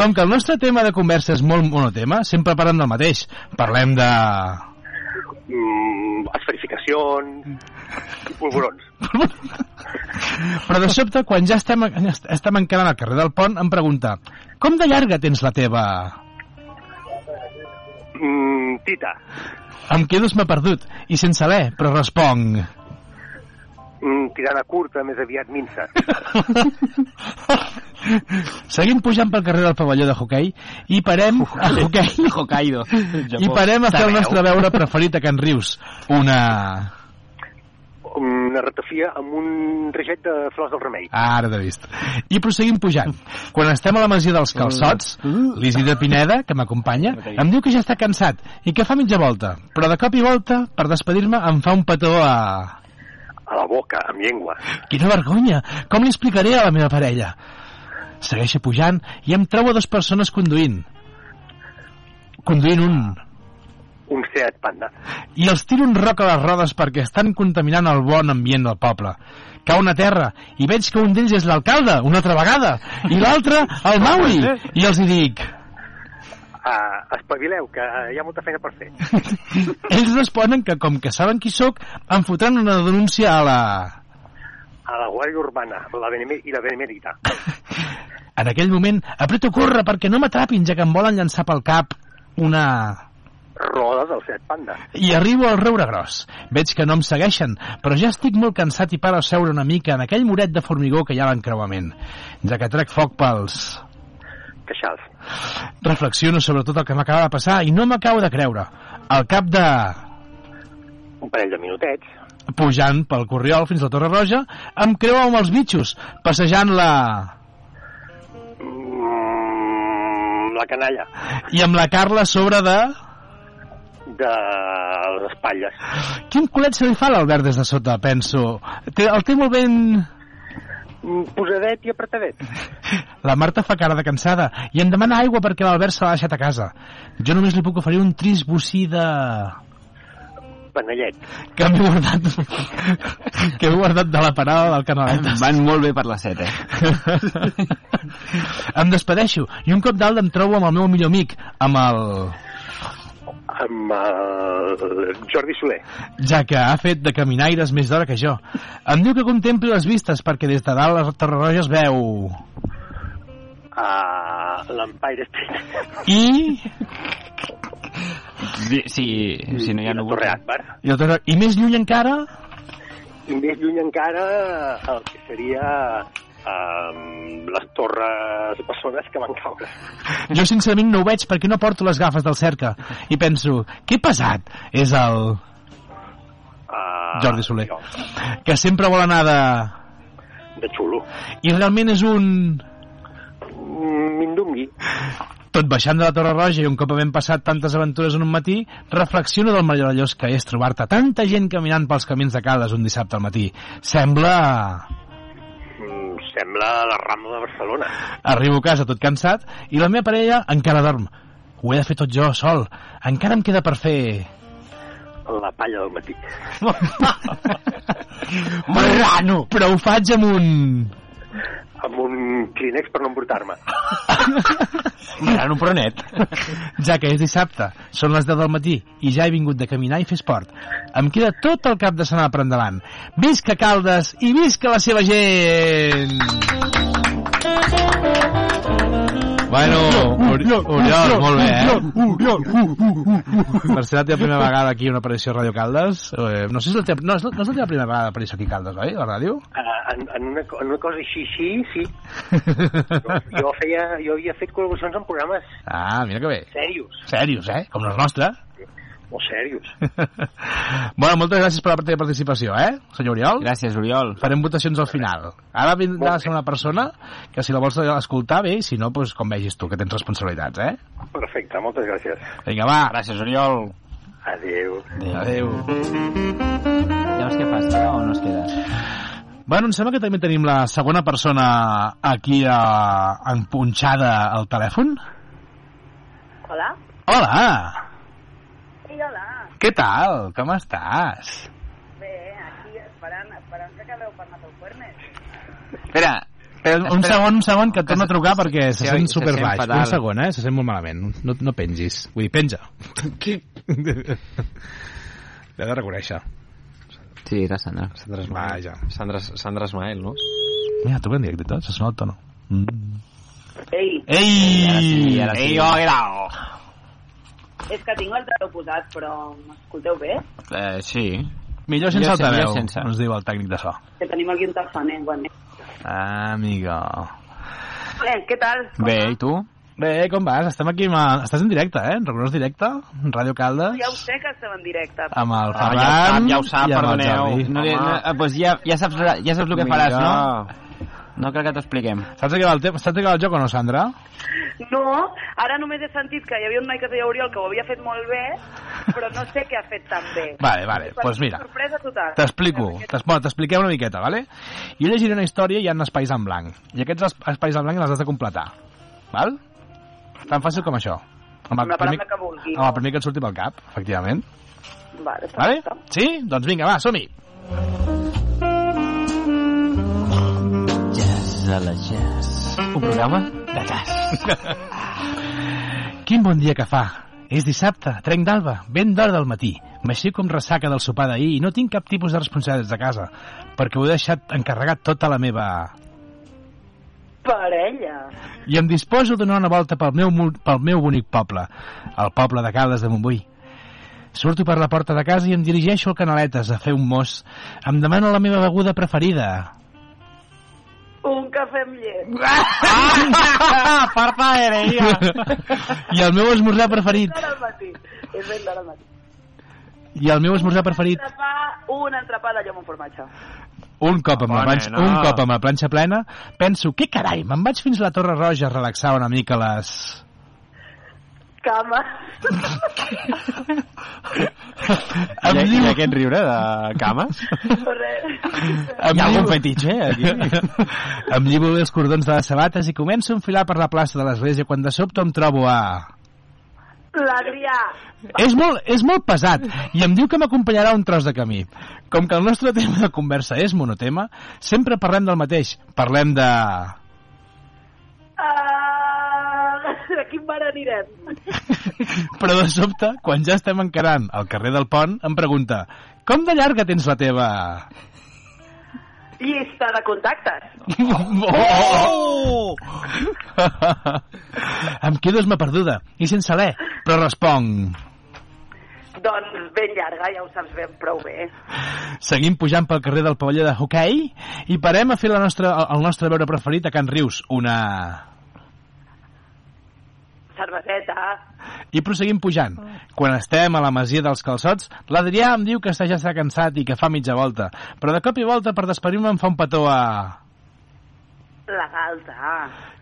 Speaker 4: Com que el nostre tema de conversa és molt monotema, sempre parlem del mateix. Parlem de...
Speaker 10: Mm, esferificacions. Polvorons.
Speaker 4: Però de sobte, quan ja estem, estem encarant al carrer del pont, em pregunta com de llarga tens la teva...
Speaker 10: Mm, tita.
Speaker 4: Em quedo m'ha perdut i sense alè, però responc.
Speaker 10: Mm, tirant a curta, més aviat minsa.
Speaker 4: Seguim pujant pel carrer del pavelló de hoquei i parem a hoquei
Speaker 1: Hokkaido.
Speaker 4: i parem a fer el nostre beure preferit a Can Rius. Una...
Speaker 10: Um, Una ratafia amb un reget de flors del remei.
Speaker 4: Ara t'he vist. I proseguim pujant. Quan estem a la masia dels calçots, l'Isida Pineda, que m'acompanya, em diu que ja està cansat i que fa mitja volta. Però de cop i volta, per despedir-me, em fa un petó a...
Speaker 10: A la boca, amb llengua.
Speaker 4: Quina vergonya! Com li explicaré a la meva parella? Segueixo pujant i em trobo dues persones conduint. Conduint un.
Speaker 10: Un Seat Panda.
Speaker 4: I els tiro un roc a les rodes perquè estan contaminant el bon ambient del poble. Cau una terra i veig que un d'ells és l'alcalde, una altra vegada, i l'altre el Mauri. I els hi dic...
Speaker 10: Ah, espavileu, que eh, hi ha molta feina per fer.
Speaker 4: Ells responen que com que saben qui sóc, em fotran una denúncia a la...
Speaker 10: A la Guàrdia Urbana la Beneme i la Benemèrita.
Speaker 4: En aquell moment, aprieto a córrer perquè no m'atrapin, ja que em volen llançar pel cap una...
Speaker 10: Roda del Seat Panda.
Speaker 4: I arribo al Roure Gros. Veig que no em segueixen, però ja estic molt cansat i paro a seure una mica en aquell muret de formigó que hi ha a l'encreuament, ja que trec foc pels...
Speaker 10: Queixals.
Speaker 4: Reflexiono sobre tot el que m'acaba de passar i no m'acabo de creure. Al cap de...
Speaker 10: Un parell de minutets.
Speaker 4: pujant pel Corriol fins a la Torre Roja, em creu amb els bitxos, passejant la...
Speaker 10: Mm, la canalla.
Speaker 4: i amb la Carla a sobre de...
Speaker 10: de les espatlles.
Speaker 4: Quin culet se li fa a l'Albert des de sota, penso? Té, el té molt ben...
Speaker 10: Mm, Posadet i apretadet.
Speaker 4: La Marta fa cara de cansada i em demana aigua perquè l'Albert se l'ha deixat a casa. Jo només li puc oferir un trist bocí de...
Speaker 10: Panellet.
Speaker 4: que m'he guardat que he guardat de la parada del Canaletes.
Speaker 1: Van molt bé per la set, eh?
Speaker 4: em despedeixo i un cop dalt em trobo amb el meu millor amic, amb el...
Speaker 10: Amb el Jordi Soler.
Speaker 4: ja que ha fet de caminaires més d'hora que jo. Em diu que contempli les vistes perquè des de dalt la Torre Roja es veu...
Speaker 10: a l'Empire State.
Speaker 4: I...
Speaker 1: Si, si, si no hi ha núvols...
Speaker 10: Torre Akbar.
Speaker 4: I, la Torre... I més lluny encara...
Speaker 10: I més lluny encara el que seria um, les torres bessones que van caure.
Speaker 4: Jo sincerament no ho veig perquè no porto les gafes del cerca. I penso, que pesat és el
Speaker 10: Uh,
Speaker 4: Jordi Soler. Que sempre vol anar de...
Speaker 10: De xulo.
Speaker 4: I realment és un...
Speaker 10: Mm, Mindungui.
Speaker 4: Tot baixant de la Torre Roja i un cop havent passat tantes aventures en un matí, reflexiono del meravellós que és trobar-te tanta gent caminant pels camins de Caldes un dissabte al matí. Sembla...
Speaker 10: Mm, sembla la Rambla de Barcelona.
Speaker 4: Arribo a casa tot cansat i la meva parella encara dorm. Ho he de fer tot jo, sol. Encara em queda per fer...
Speaker 10: La palla del matí.
Speaker 4: Marrano! Però ho faig amb un...
Speaker 10: Amb un clínex per no emportar-me.
Speaker 4: Marrano, però net. Ja que és dissabte, són les 10 del matí i ja he vingut de caminar i fer esport. Em queda tot el cap de setmana per endavant. Visca Caldes i visca la seva gent!
Speaker 3: Bueno, Ori- Oriol, molt bé, eh?
Speaker 4: uh, Per ser la teva primera vegada aquí una aparició a Ràdio Caldes, eh, no sé si és la teva, no, és la, no és la teva primera vegada aparició aquí a Caldes, oi, a la ràdio?
Speaker 10: Eh, En, en, una, co- en una cosa així, així, sí. Jo, feia, jo havia fet col·laboracions en programes
Speaker 4: Ah, mira que bé.
Speaker 10: serios.
Speaker 4: Serios, eh? Com les nostres.
Speaker 10: Molt serios.
Speaker 4: bueno, moltes gràcies per la teva participació, eh, senyor Oriol?
Speaker 1: Gràcies, Oriol.
Speaker 4: Farem votacions al final. Ara vindrà a ser una persona que si la vols escoltar bé i si no, doncs com vegis tu, que tens responsabilitats, eh?
Speaker 10: Perfecte, moltes gràcies.
Speaker 4: Vinga, va.
Speaker 1: Gràcies, Oriol.
Speaker 10: Adéu.
Speaker 4: Adéu.
Speaker 1: Llavors què passa? Queda o no es queda?
Speaker 4: Bueno, em sembla que també tenim la segona persona aquí a... empunxada al telèfon.
Speaker 11: Hola.
Speaker 4: Hola!
Speaker 11: Sí, hola.
Speaker 4: Què tal? Com estàs?
Speaker 11: Bé, aquí esperant, esperant que acabeu per anar pel Cuernes.
Speaker 1: Espera,
Speaker 4: Espera, un
Speaker 1: espera.
Speaker 4: segon, un segon, que et torno a trucar perquè se
Speaker 1: sí, se
Speaker 4: sent
Speaker 1: sent
Speaker 4: super baix.
Speaker 1: fatal.
Speaker 4: Un segon, eh? Se sent molt malament. No, no pengis. Vull dir, penja. L'he de reconèixer.
Speaker 1: Sí, és la Sandra.
Speaker 3: Sandra Esmael.
Speaker 4: Vaja.
Speaker 3: Sandra, Sandra Esmael, no?
Speaker 4: Mira, truca en directe i tot, se sona el tono. Mm.
Speaker 11: Ei,
Speaker 4: Ei!
Speaker 1: ara sí.
Speaker 4: Ei, oh, era...
Speaker 11: és que tinc l'altre posat, però m'escolteu bé?
Speaker 1: Eh, sí.
Speaker 4: Millor
Speaker 1: Millor
Speaker 4: sense
Speaker 1: sense,
Speaker 4: altaveu,
Speaker 1: millor sense.
Speaker 4: ens diu el tècnic de so.
Speaker 11: Que tenim aquí un tafaner, bueno.
Speaker 4: Ah, amigo.
Speaker 11: Eh, què tal? Com
Speaker 1: Bé,
Speaker 11: va?
Speaker 1: i tu?
Speaker 4: Bé, com vas? Estem aquí, amb el... estàs en directe, eh? En Reconós directe, en Ràdio Caldes,
Speaker 11: Ja ho sé que estem en directe.
Speaker 4: amb el
Speaker 3: Ah, ja ho
Speaker 4: Ferran...
Speaker 3: sap, ja ho sap,
Speaker 4: i amb el
Speaker 3: perdoneu.
Speaker 4: Jordi.
Speaker 1: No, li-
Speaker 3: Home.
Speaker 1: no, eh, doncs ja, ja, saps, ja saps el que faràs, no? No crec que t'ho expliquem.
Speaker 4: Saps acabar el, temps? Saps acabar el joc o no, Sandra?
Speaker 11: No, ara només he sentit que hi havia un noi que es deia Oriol que ho havia fet molt bé, però no sé què ha fet tan bé.
Speaker 4: Vale, vale, doncs pues mira.
Speaker 11: Sorpresa total.
Speaker 4: T'explico, t'es- bueno, t'expliquem una miqueta, vale? Jo llegiré una història i hi ha espais en blanc. I aquests es- espais en blanc les has de completar, val? Tan fàcil com això. Amb
Speaker 11: Amb la paraula que vulgui.
Speaker 4: Amb el primer que et surti pel cap, efectivament.
Speaker 11: Vale,
Speaker 4: Vale?
Speaker 11: perfecte.
Speaker 4: Sí? Doncs vinga, va, som-hi.
Speaker 1: Jazz a la jazz. Un programa de jazz.
Speaker 4: Quin bon dia que fa. És dissabte, trenc d'alba, ben d'hora del matí. M'aixeco com ressaca del sopar d'ahir i no tinc cap tipus de responsabilitats de casa, perquè ho he deixat encarregat tota la meva
Speaker 11: Parella.
Speaker 4: i em disposo a donar una volta pel meu, mu- pel meu bonic poble, el poble de Caldes de Montbui. Surto per la porta de casa i em dirigeixo al Canaletes a fer un mos. Em demano la meva beguda preferida.
Speaker 11: Un cafè amb llet.
Speaker 4: I el meu esmorzar preferit.
Speaker 11: Ara al matí. És ben d'ara al matí.
Speaker 4: I el meu esmorzar preferit.
Speaker 11: Entrepà, un entrepà de llom amb formatge.
Speaker 4: Un cop amb la
Speaker 3: Bona,
Speaker 4: planxa,
Speaker 3: no?
Speaker 4: un cop amb la planxa plena, penso, què carai, me'n vaig fins a la Torre Roja a relaxar una mica les...
Speaker 11: Cama.
Speaker 3: Em I, diu... I aquest riure de cames? Hi ha algun fetitxe, eh, aquí?
Speaker 4: em llibo bé els cordons de les sabates i començo a enfilar per la plaça de l'església quan de sobte em trobo a...
Speaker 11: L'Adrià.
Speaker 4: És molt, és molt pesat i em diu que m'acompanyarà un tros de camí. Com que el nostre tema de conversa és monotema, sempre parlem del mateix. Parlem de...
Speaker 11: Uh, a quin bar anirem?
Speaker 4: Però de sobte, quan ja estem encarant al carrer del pont, em pregunta com de llarga tens la teva...
Speaker 11: Llista de contactes.
Speaker 4: Oh! em quedo esma perduda i sense alè, però responc.
Speaker 11: Doncs ben llarga, ja ho saps ben prou bé.
Speaker 4: Seguim pujant pel carrer del pavelló de hoquei i parem a fer la nostra, el- el nostre veure preferit a Can Rius, una...
Speaker 11: Cerveseta.
Speaker 4: I proseguim pujant. Quan estem a la masia dels calçots, l'Adrià em diu que està ja està cansat i que fa mitja volta, però de cop i volta per despedir-me em fa un petó a...
Speaker 11: La galta.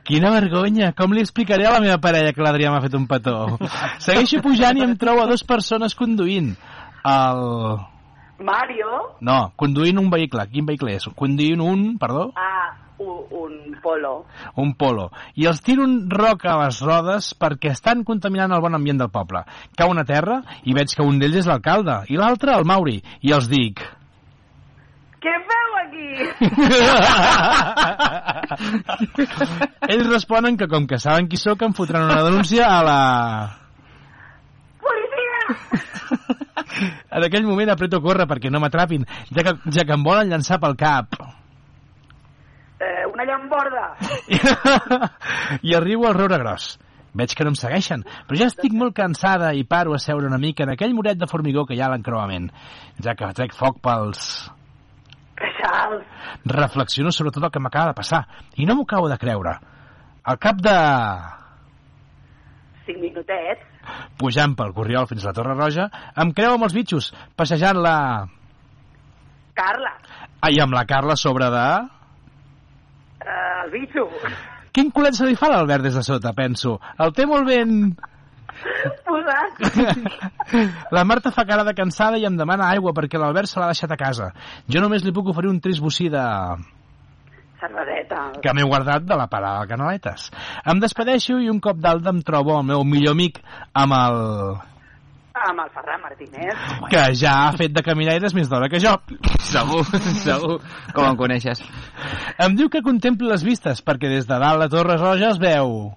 Speaker 4: Quina vergonya! Com li explicaré a la meva parella que l'Adrià m'ha fet un petó? Segueixo pujant i em trobo a dues persones conduint. El...
Speaker 11: Mario.
Speaker 4: No, conduint un vehicle. Quin vehicle és? Conduint un, perdó,
Speaker 11: Ah, un, un polo.
Speaker 4: un polo. I els tiro un roc a les rodes perquè estan contaminant el bon ambient del poble. Cauen a terra i veig que un d'ells és l'alcalde i l'altre el Mauri. I els dic...
Speaker 11: Què feu aquí?
Speaker 4: Ells responen que com que saben qui sóc em fotran una denúncia a la... Policia! En aquell moment apreto a córrer perquè no m'atrapin, ja que, ja que em volen llançar pel cap.
Speaker 11: Eh, una llamborda.
Speaker 4: I arribo al roure gros. Veig que no em segueixen, però ja estic molt cansada i paro a seure una mica en aquell muret de formigó que hi ha a l'encreuament, ja que trec foc pels...
Speaker 11: Queixals.
Speaker 4: Reflexiono sobre tot el que m'acaba de passar i no m'ho acabo de creure. Al cap de...
Speaker 11: Cinc minutets.
Speaker 4: Pujant pel Corriol fins a la Torre Roja, em creu amb els bitxos, passejant la...
Speaker 11: Carla.
Speaker 4: Ai, amb la Carla sobre de...
Speaker 11: Eh, el bitxo.
Speaker 4: Quin culet se li fa a l'Albert des de sota, penso. El té molt ben...
Speaker 11: Posat.
Speaker 4: La Marta fa cara de cansada i em demana aigua perquè l'Albert se l'ha deixat a casa. Jo només li puc oferir un trist bocí de...
Speaker 11: Cerveseta.
Speaker 4: que m'he guardat de la parada de Canaletes. Em despedeixo i un cop d'alda em trobo el meu millor amic amb el...
Speaker 11: Amb el Ferran Martínez.
Speaker 4: que ja ha fet de caminaires més d'hora que jo.
Speaker 1: Segur, segur, com em coneixes.
Speaker 4: Em diu que contempli les vistes, perquè des de dalt la Torre Roja es veu.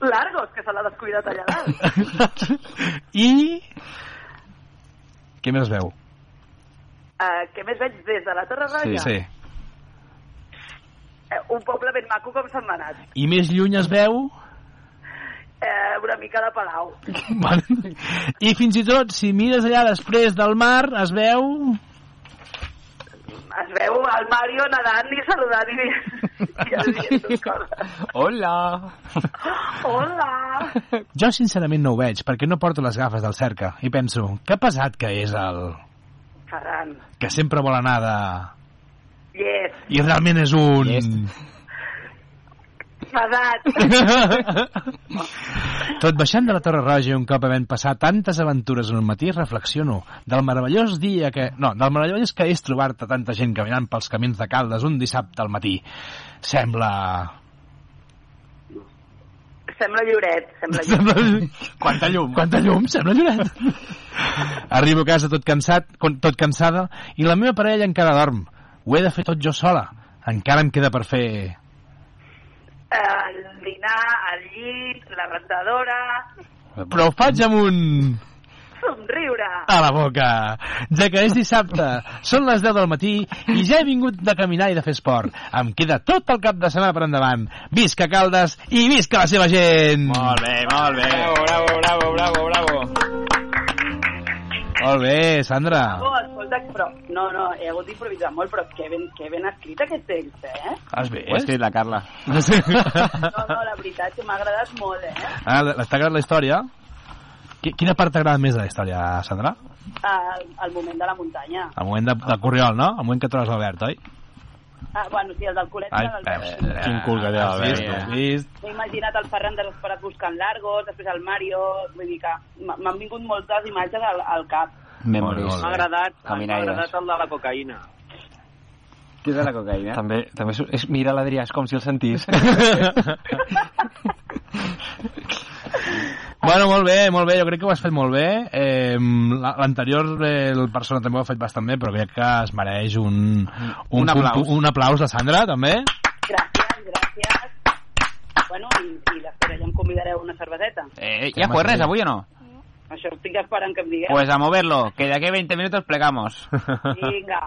Speaker 11: Largos, que se l'ha descuidat allà dalt.
Speaker 4: I... Què més es veu?
Speaker 11: Eh, què més veig des de la Torre Roja? Eh, un poble ben maco com Sant Manat.
Speaker 4: I més lluny es veu...
Speaker 11: Eh, una mica de palau.
Speaker 4: Vale. I fins i tot, si mires allà després del mar, es veu...
Speaker 11: Es veu el Mario nedant i saludant i, i el dient coses.
Speaker 4: Hola!
Speaker 11: Hola!
Speaker 4: Jo sincerament no ho veig, perquè no porto les gafes del cerca. I penso, que pesat que és el...
Speaker 11: Ferran,
Speaker 4: que sempre vol anar de...
Speaker 11: yes,
Speaker 4: I realment és un...
Speaker 11: pesat.
Speaker 4: Tot baixant de la Torre Roja i un cop havent passat tantes aventures en un matí, reflexiono del meravellós dia que... No, del meravellós que és trobar-te tanta gent caminant pels camins de Caldes un dissabte al matí. Sembla...
Speaker 11: Sembla lliuret, sembla
Speaker 4: Sembla...
Speaker 11: lliuret.
Speaker 4: Quanta llum. Quanta llum, sembla lloret. Arribo a casa tot cansat, con- tot cansada, i la meva parella encara dorm. Ho he de fer tot jo sola. Encara em queda per fer...
Speaker 11: El dinar, el llit, la rentadora,
Speaker 4: Però ho faig amb un...
Speaker 11: somriure.
Speaker 4: a la boca, ja que és dissabte, són les 10 del matí i ja he vingut de caminar i de fer esport. Em queda tot el cap de setmana per endavant. Visca Caldes i visca la seva gent! Molt bé, molt bé.
Speaker 1: Bravo, bravo, bravo, bravo.
Speaker 4: Molt bé, Sandra.
Speaker 11: Oh, escolta, però... No, no, he hagut d'improvisar molt, però que ben, que ben escrit aquest text, eh?
Speaker 4: Has vist?
Speaker 1: Ho ha escrit la Carla.
Speaker 11: No, no, la veritat que m'ha agradat molt, eh?
Speaker 4: Ah, t'ha agradat la història? Qui- Quina part t'agrada més de la història, Sandra?
Speaker 11: El, el moment de la muntanya.
Speaker 4: El moment de, de Corriol, no? El moment que trobes l'Albert, oi?
Speaker 11: Ah, bueno, sí, el del culet.
Speaker 4: Ai,
Speaker 11: Ai, del...
Speaker 4: eh, quin cul que té
Speaker 3: Has vist,
Speaker 4: l'Albert.
Speaker 3: has
Speaker 4: vist?
Speaker 11: M'he imaginat el Ferran desesperat buscant Largos, després el Mario, vull dir que m'ha- m'han vingut moltes imatges al, al cap.
Speaker 1: Memories.
Speaker 12: M'ha agradat, m'ha agradat el de la cocaïna.
Speaker 1: Què és de la cocaïna?
Speaker 3: També, també és- és, mira l'Adrià, és com si el sentís.
Speaker 4: Bueno, molt bé, molt bé, jo crec que ho has fet molt bé. Eh, la- L'anterior, eh, el persona també ho ha fet bastant bé, però crec que es mereix un, un,
Speaker 1: Un aplaus.
Speaker 4: Un, aplaus de Sandra, també.
Speaker 11: Gràcies, gràcies. Bueno, i, i l'espera, ja em convidareu una cerveseta.
Speaker 1: Eh, ¿Ya fue res avui o no?
Speaker 11: Això estic esperant que em digueu.
Speaker 1: Pues a moverlo, que de aquí a 20 minutos plegamos.
Speaker 11: Vinga.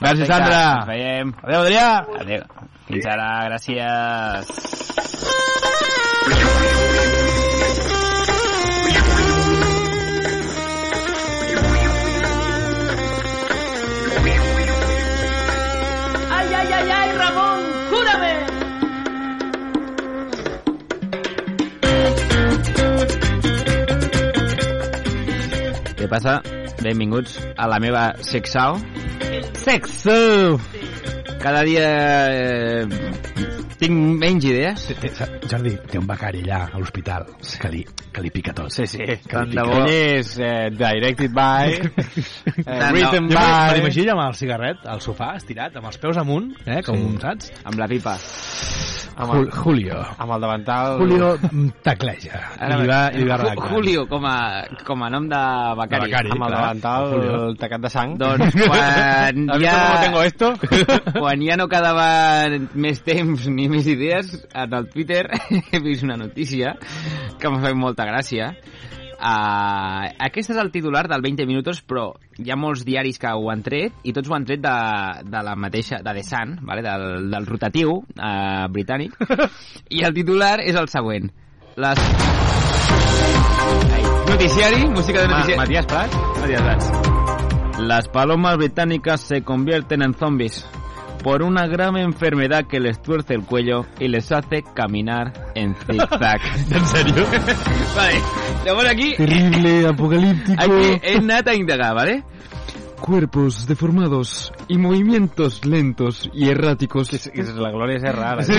Speaker 1: Gràcies,
Speaker 4: Sandra.
Speaker 1: Ens veiem.
Speaker 4: Adéu, Adrià.
Speaker 1: Adéu. Fins ara, gràcies.
Speaker 2: Ay, ay, ay, ay, Ramón, júrame.
Speaker 1: Què passa? Benvinguts a la meva sexao. Sexo! Cada dia eh, tinc menys idees.
Speaker 4: Eh, Jordi, té un becari allà, a l'hospital, que, li, que li pica tot.
Speaker 3: Sí, sí.
Speaker 4: Que li
Speaker 3: de
Speaker 4: pica.
Speaker 3: bo. és eh, directed by, eh,
Speaker 4: Tant,
Speaker 3: written
Speaker 4: no. Jo me- me
Speaker 3: by...
Speaker 4: l'imagino amb el cigarret al sofà, estirat, amb els peus amunt, eh, com
Speaker 3: Sí.
Speaker 4: sí. saps?
Speaker 1: Amb la pipa.
Speaker 3: Amb el,
Speaker 4: Jul- Julio.
Speaker 3: Amb el davantal...
Speaker 4: Julio mm, tecleja. I li va, i li va arreglant.
Speaker 1: Julio, com a, com a nom de becari.
Speaker 4: becari,
Speaker 3: amb el
Speaker 4: clar.
Speaker 3: davantal,
Speaker 4: Julio.
Speaker 3: el tacat de sang.
Speaker 1: Doncs quan
Speaker 3: ¿Has
Speaker 1: ja...
Speaker 3: visto cómo tengo esto?
Speaker 1: Quan ja no quedaven més temps ni més idees, en el Twitter he vist una notícia que m'ha fet molta gràcia. Uh, aquest és el titular del 20 Minutos, però hi ha molts diaris que ho han tret i tots ho han tret de, de la mateixa, de The Sun, vale? del, del rotatiu uh, britànic. I el titular és el següent. Les... Ai, Noticiari, música de
Speaker 3: Ma-
Speaker 1: noticiari.
Speaker 3: Matías Prats?
Speaker 1: Matías Prats. Las palomas británicas se convierten en zombies por una grave enfermedad que les tuerce el cuello y les hace caminar en zigzag.
Speaker 4: ¿En serio?
Speaker 1: vale, estamos aquí.
Speaker 4: Terrible, apocalíptico.
Speaker 1: Aquí es nata indagar, ¿vale? Cuerpos deformados y movimientos lentos y erráticos.
Speaker 3: La gloria es rara.
Speaker 1: Sí.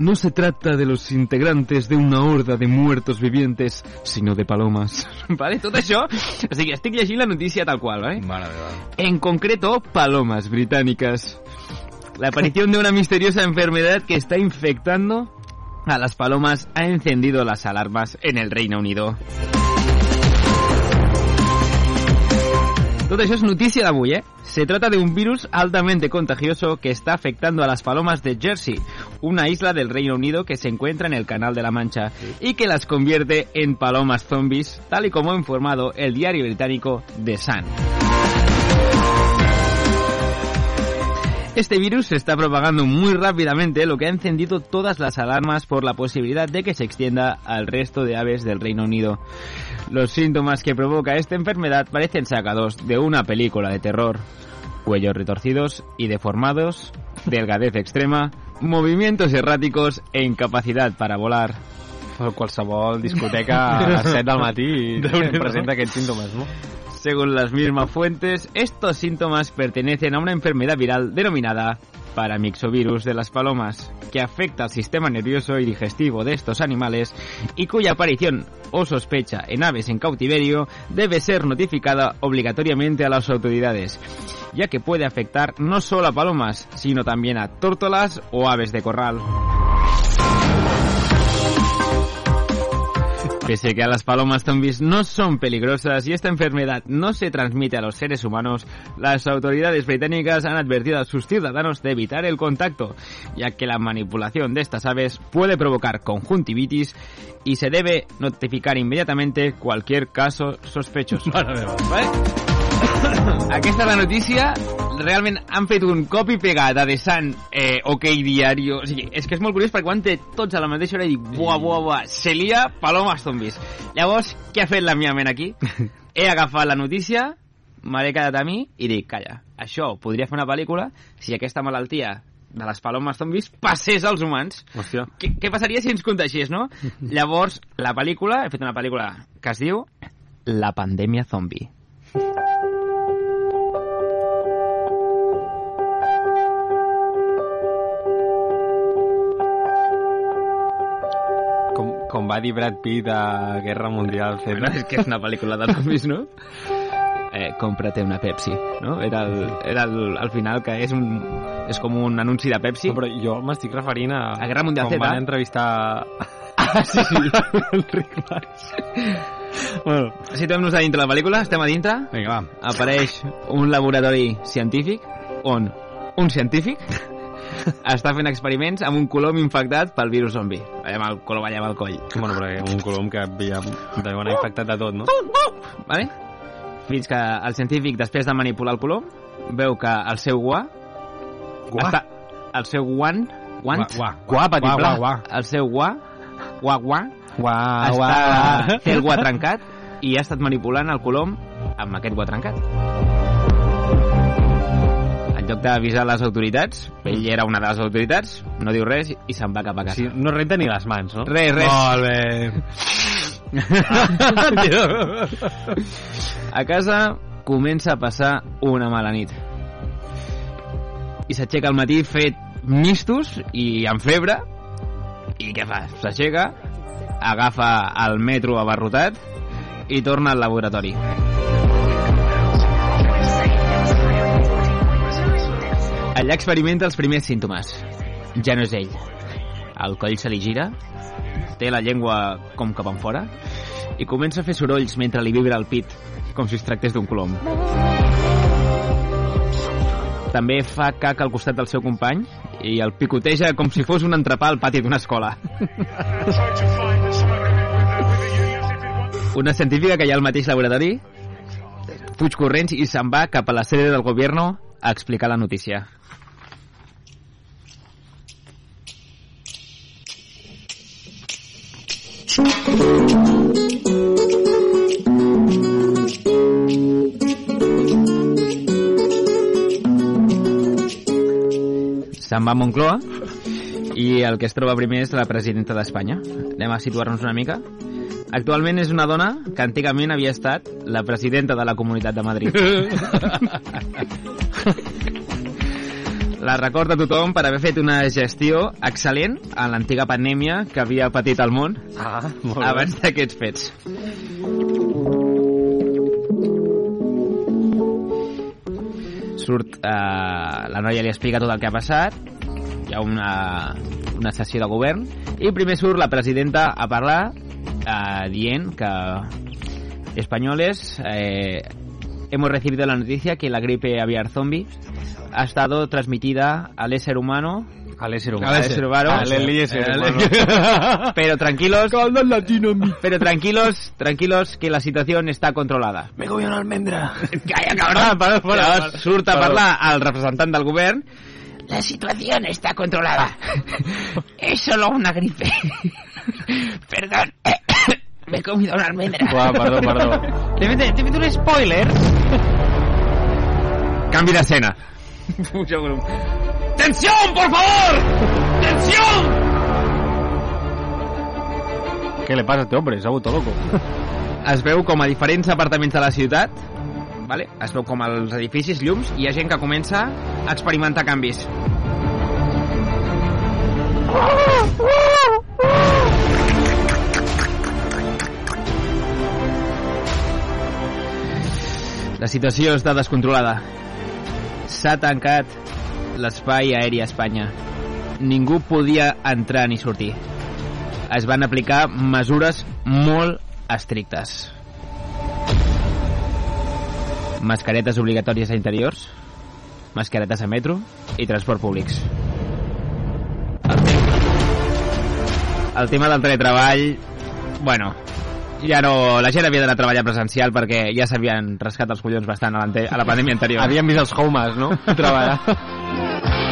Speaker 1: No se trata de los integrantes de una horda de muertos vivientes, sino de palomas. Vale, tot això... O sigui, estic llegint la notícia tal qual, vale?
Speaker 4: Mare meva.
Speaker 1: En concreto, palomas británicas. La aparición de una misteriosa enfermedad que está infectando a las palomas ha encendido las alarmas en el Reino Unido. Todo eso es noticia de Abuy, ¿eh? Se trata de un virus altamente contagioso que está afectando a las palomas de Jersey, una isla del Reino Unido que se encuentra en el Canal de la Mancha y que las convierte en palomas zombies, tal y como ha informado el diario británico The Sun. Este virus se está propagando muy rápidamente, lo que ha encendido todas las alarmas por la posibilidad de que se extienda al resto de aves del Reino Unido. Los síntomas que provoca esta enfermedad parecen sacados de una película de terror. Cuellos retorcidos y deformados, delgadez extrema, movimientos erráticos e incapacidad para volar.
Speaker 3: Qualsevol discoteca a les 7 del matí
Speaker 1: Déu-n'hi-do.
Speaker 3: presenta aquests símptomes, no?
Speaker 1: Según las mismas fuentes, estos síntomas pertenecen a una enfermedad viral denominada paramixovirus de las palomas, que afecta al sistema nervioso y digestivo de estos animales y cuya aparición o sospecha en aves en cautiverio debe ser notificada obligatoriamente a las autoridades, ya que puede afectar no solo a palomas, sino también a tórtolas o aves de corral. Pese que a las palomas zombies no son peligrosas y esta enfermedad no se transmite a los seres humanos, las autoridades británicas han advertido a sus ciudadanos de evitar el contacto, ya que la manipulación de estas aves puede provocar conjuntivitis y se debe notificar inmediatamente cualquier caso sospechoso. ¿Vale? Aquesta és la notícia. Realment han fet un copy pegat de Sant eh, OK Diario. O sigui, és que és molt curiós perquè ho han tret tots a la mateixa hora i dic buah, buah, buah, Celia, palomas zombies. Llavors, què ha fet la meva ment aquí? He agafat la notícia, me l'he quedat a mi i dic, calla, això podria fer una pel·lícula si aquesta malaltia de les palomes zombies passés als humans.
Speaker 3: Hòstia.
Speaker 1: Què, què passaria si ens contagiés, no? Llavors, la pel·lícula, he fet una pel·lícula que es diu La pandèmia zombi.
Speaker 3: Com, Com va dir Brad Pitt a Guerra Mundial Z.
Speaker 1: Bueno, és que és una pel·lícula de zombis, no? Eh, cómprate una Pepsi, no? Era, el, era el, al final que és, un, és com un anunci de Pepsi.
Speaker 3: No, però jo m'estic referint a...
Speaker 1: A Guerra Mundial
Speaker 3: quan
Speaker 1: Z.
Speaker 3: van entrevistar...
Speaker 1: Ah, sí,
Speaker 3: el Rick Bass.
Speaker 1: Bueno. Situem-nos a dintre la pel·lícula, estem a dintre.
Speaker 3: Vinga, va.
Speaker 1: Apareix un laboratori científic on un científic està fent experiments amb un colom infectat pel virus zombi. Allà amb el colom allà amb el coll.
Speaker 3: Bueno, perquè un colom que ja deuen infectat de tot, no?
Speaker 1: Oh! Vale? Fins que el científic, després de manipular el colom, veu que el seu guà...
Speaker 3: Guà?
Speaker 1: Està, el seu guant... Guant?
Speaker 3: Guà, guà.
Speaker 1: guà, petit
Speaker 3: Guà,
Speaker 1: pla.
Speaker 3: guà,
Speaker 1: El seu guà... Guà, guà.
Speaker 3: Uau,
Speaker 1: està, té el guà trencat i ha estat manipulant el colom amb aquest guà trencat. En lloc d'avisar les autoritats, ell era una de les autoritats, no diu res i se'n va cap a casa.
Speaker 3: Sí, no renta ni les mans, no?
Speaker 1: Res, res.
Speaker 4: Molt bé.
Speaker 1: A casa comença a passar una mala nit. I s'aixeca al matí fet mistos i amb febre. I què fa? S'aixeca, agafa el metro abarrotat i torna al laboratori. Allà experimenta els primers símptomes. Ja no és ell. El coll se li gira, té la llengua com cap enfora i comença a fer sorolls mentre li vibra el pit, com si es tractés d'un colom. També fa caca al costat del seu company i el picoteja com si fos un entrepà al pati d'una escola. Una científica que hi ha al mateix laboratori fuig corrents i se'n va cap a la sede del govern a explicar la notícia. Se'n va a Moncloa i el que es troba primer és la presidenta d'Espanya. Anem a situar-nos una mica. Actualment és una dona que antigament havia estat la presidenta de la Comunitat de Madrid. La recorda tothom per haver fet una gestió excel·lent a l'antiga pandèmia que havia patit el món
Speaker 3: Ah, molt bé.
Speaker 1: abans d'aquests fets. Surt, eh, la noia li explica tot el que ha passat, hi ha una, una sessió de govern, i primer surt la presidenta a parlar eh, dient que españoles eh, hemos recibido la noticia que la gripe aviar zombie ha estado transmitida al ser humano
Speaker 3: A l'ésser humà.
Speaker 1: Al ser humano.
Speaker 3: A l'ésser
Speaker 1: Al-
Speaker 3: humà.
Speaker 1: pero tranquilos
Speaker 3: latino en mi.
Speaker 1: Pero tranquilos, tranquilos, que la situación está controlada.
Speaker 3: Me comí una almendra. Ah,
Speaker 1: Calla, cabrón! Para,
Speaker 3: para, para.
Speaker 1: surt a
Speaker 3: Para.
Speaker 1: parlar al representant del govern. La situación está controlada. Es solo una gripe. Perdón. Me he comido una almendra.
Speaker 3: Uah, perdó, perdó.
Speaker 1: Te he fet- T'he fet un spoiler. Canvi d'escena. Puja volum. ¡Tensión, por favor! ¡Tensión!
Speaker 3: Què li passa a este hombre? S'ha vuelto loco.
Speaker 1: es veu com a diferents apartaments de la ciutat vale? es veu com als edificis llums i hi ha gent que comença a experimentar canvis la situació està descontrolada s'ha tancat l'espai aeri a Espanya ningú podia entrar ni sortir es van aplicar mesures molt estrictes. Mascaretes obligatòries a interiors, mascaretes a metro i transport públics. El te- El tema del teletreball, bueno, ja no... La gent havia d'anar a treballar presencial perquè ja s'havien rascat els collons bastant a, l'ante- a la pandèmia anterior.
Speaker 3: Havien vist els homes, no? Treballar.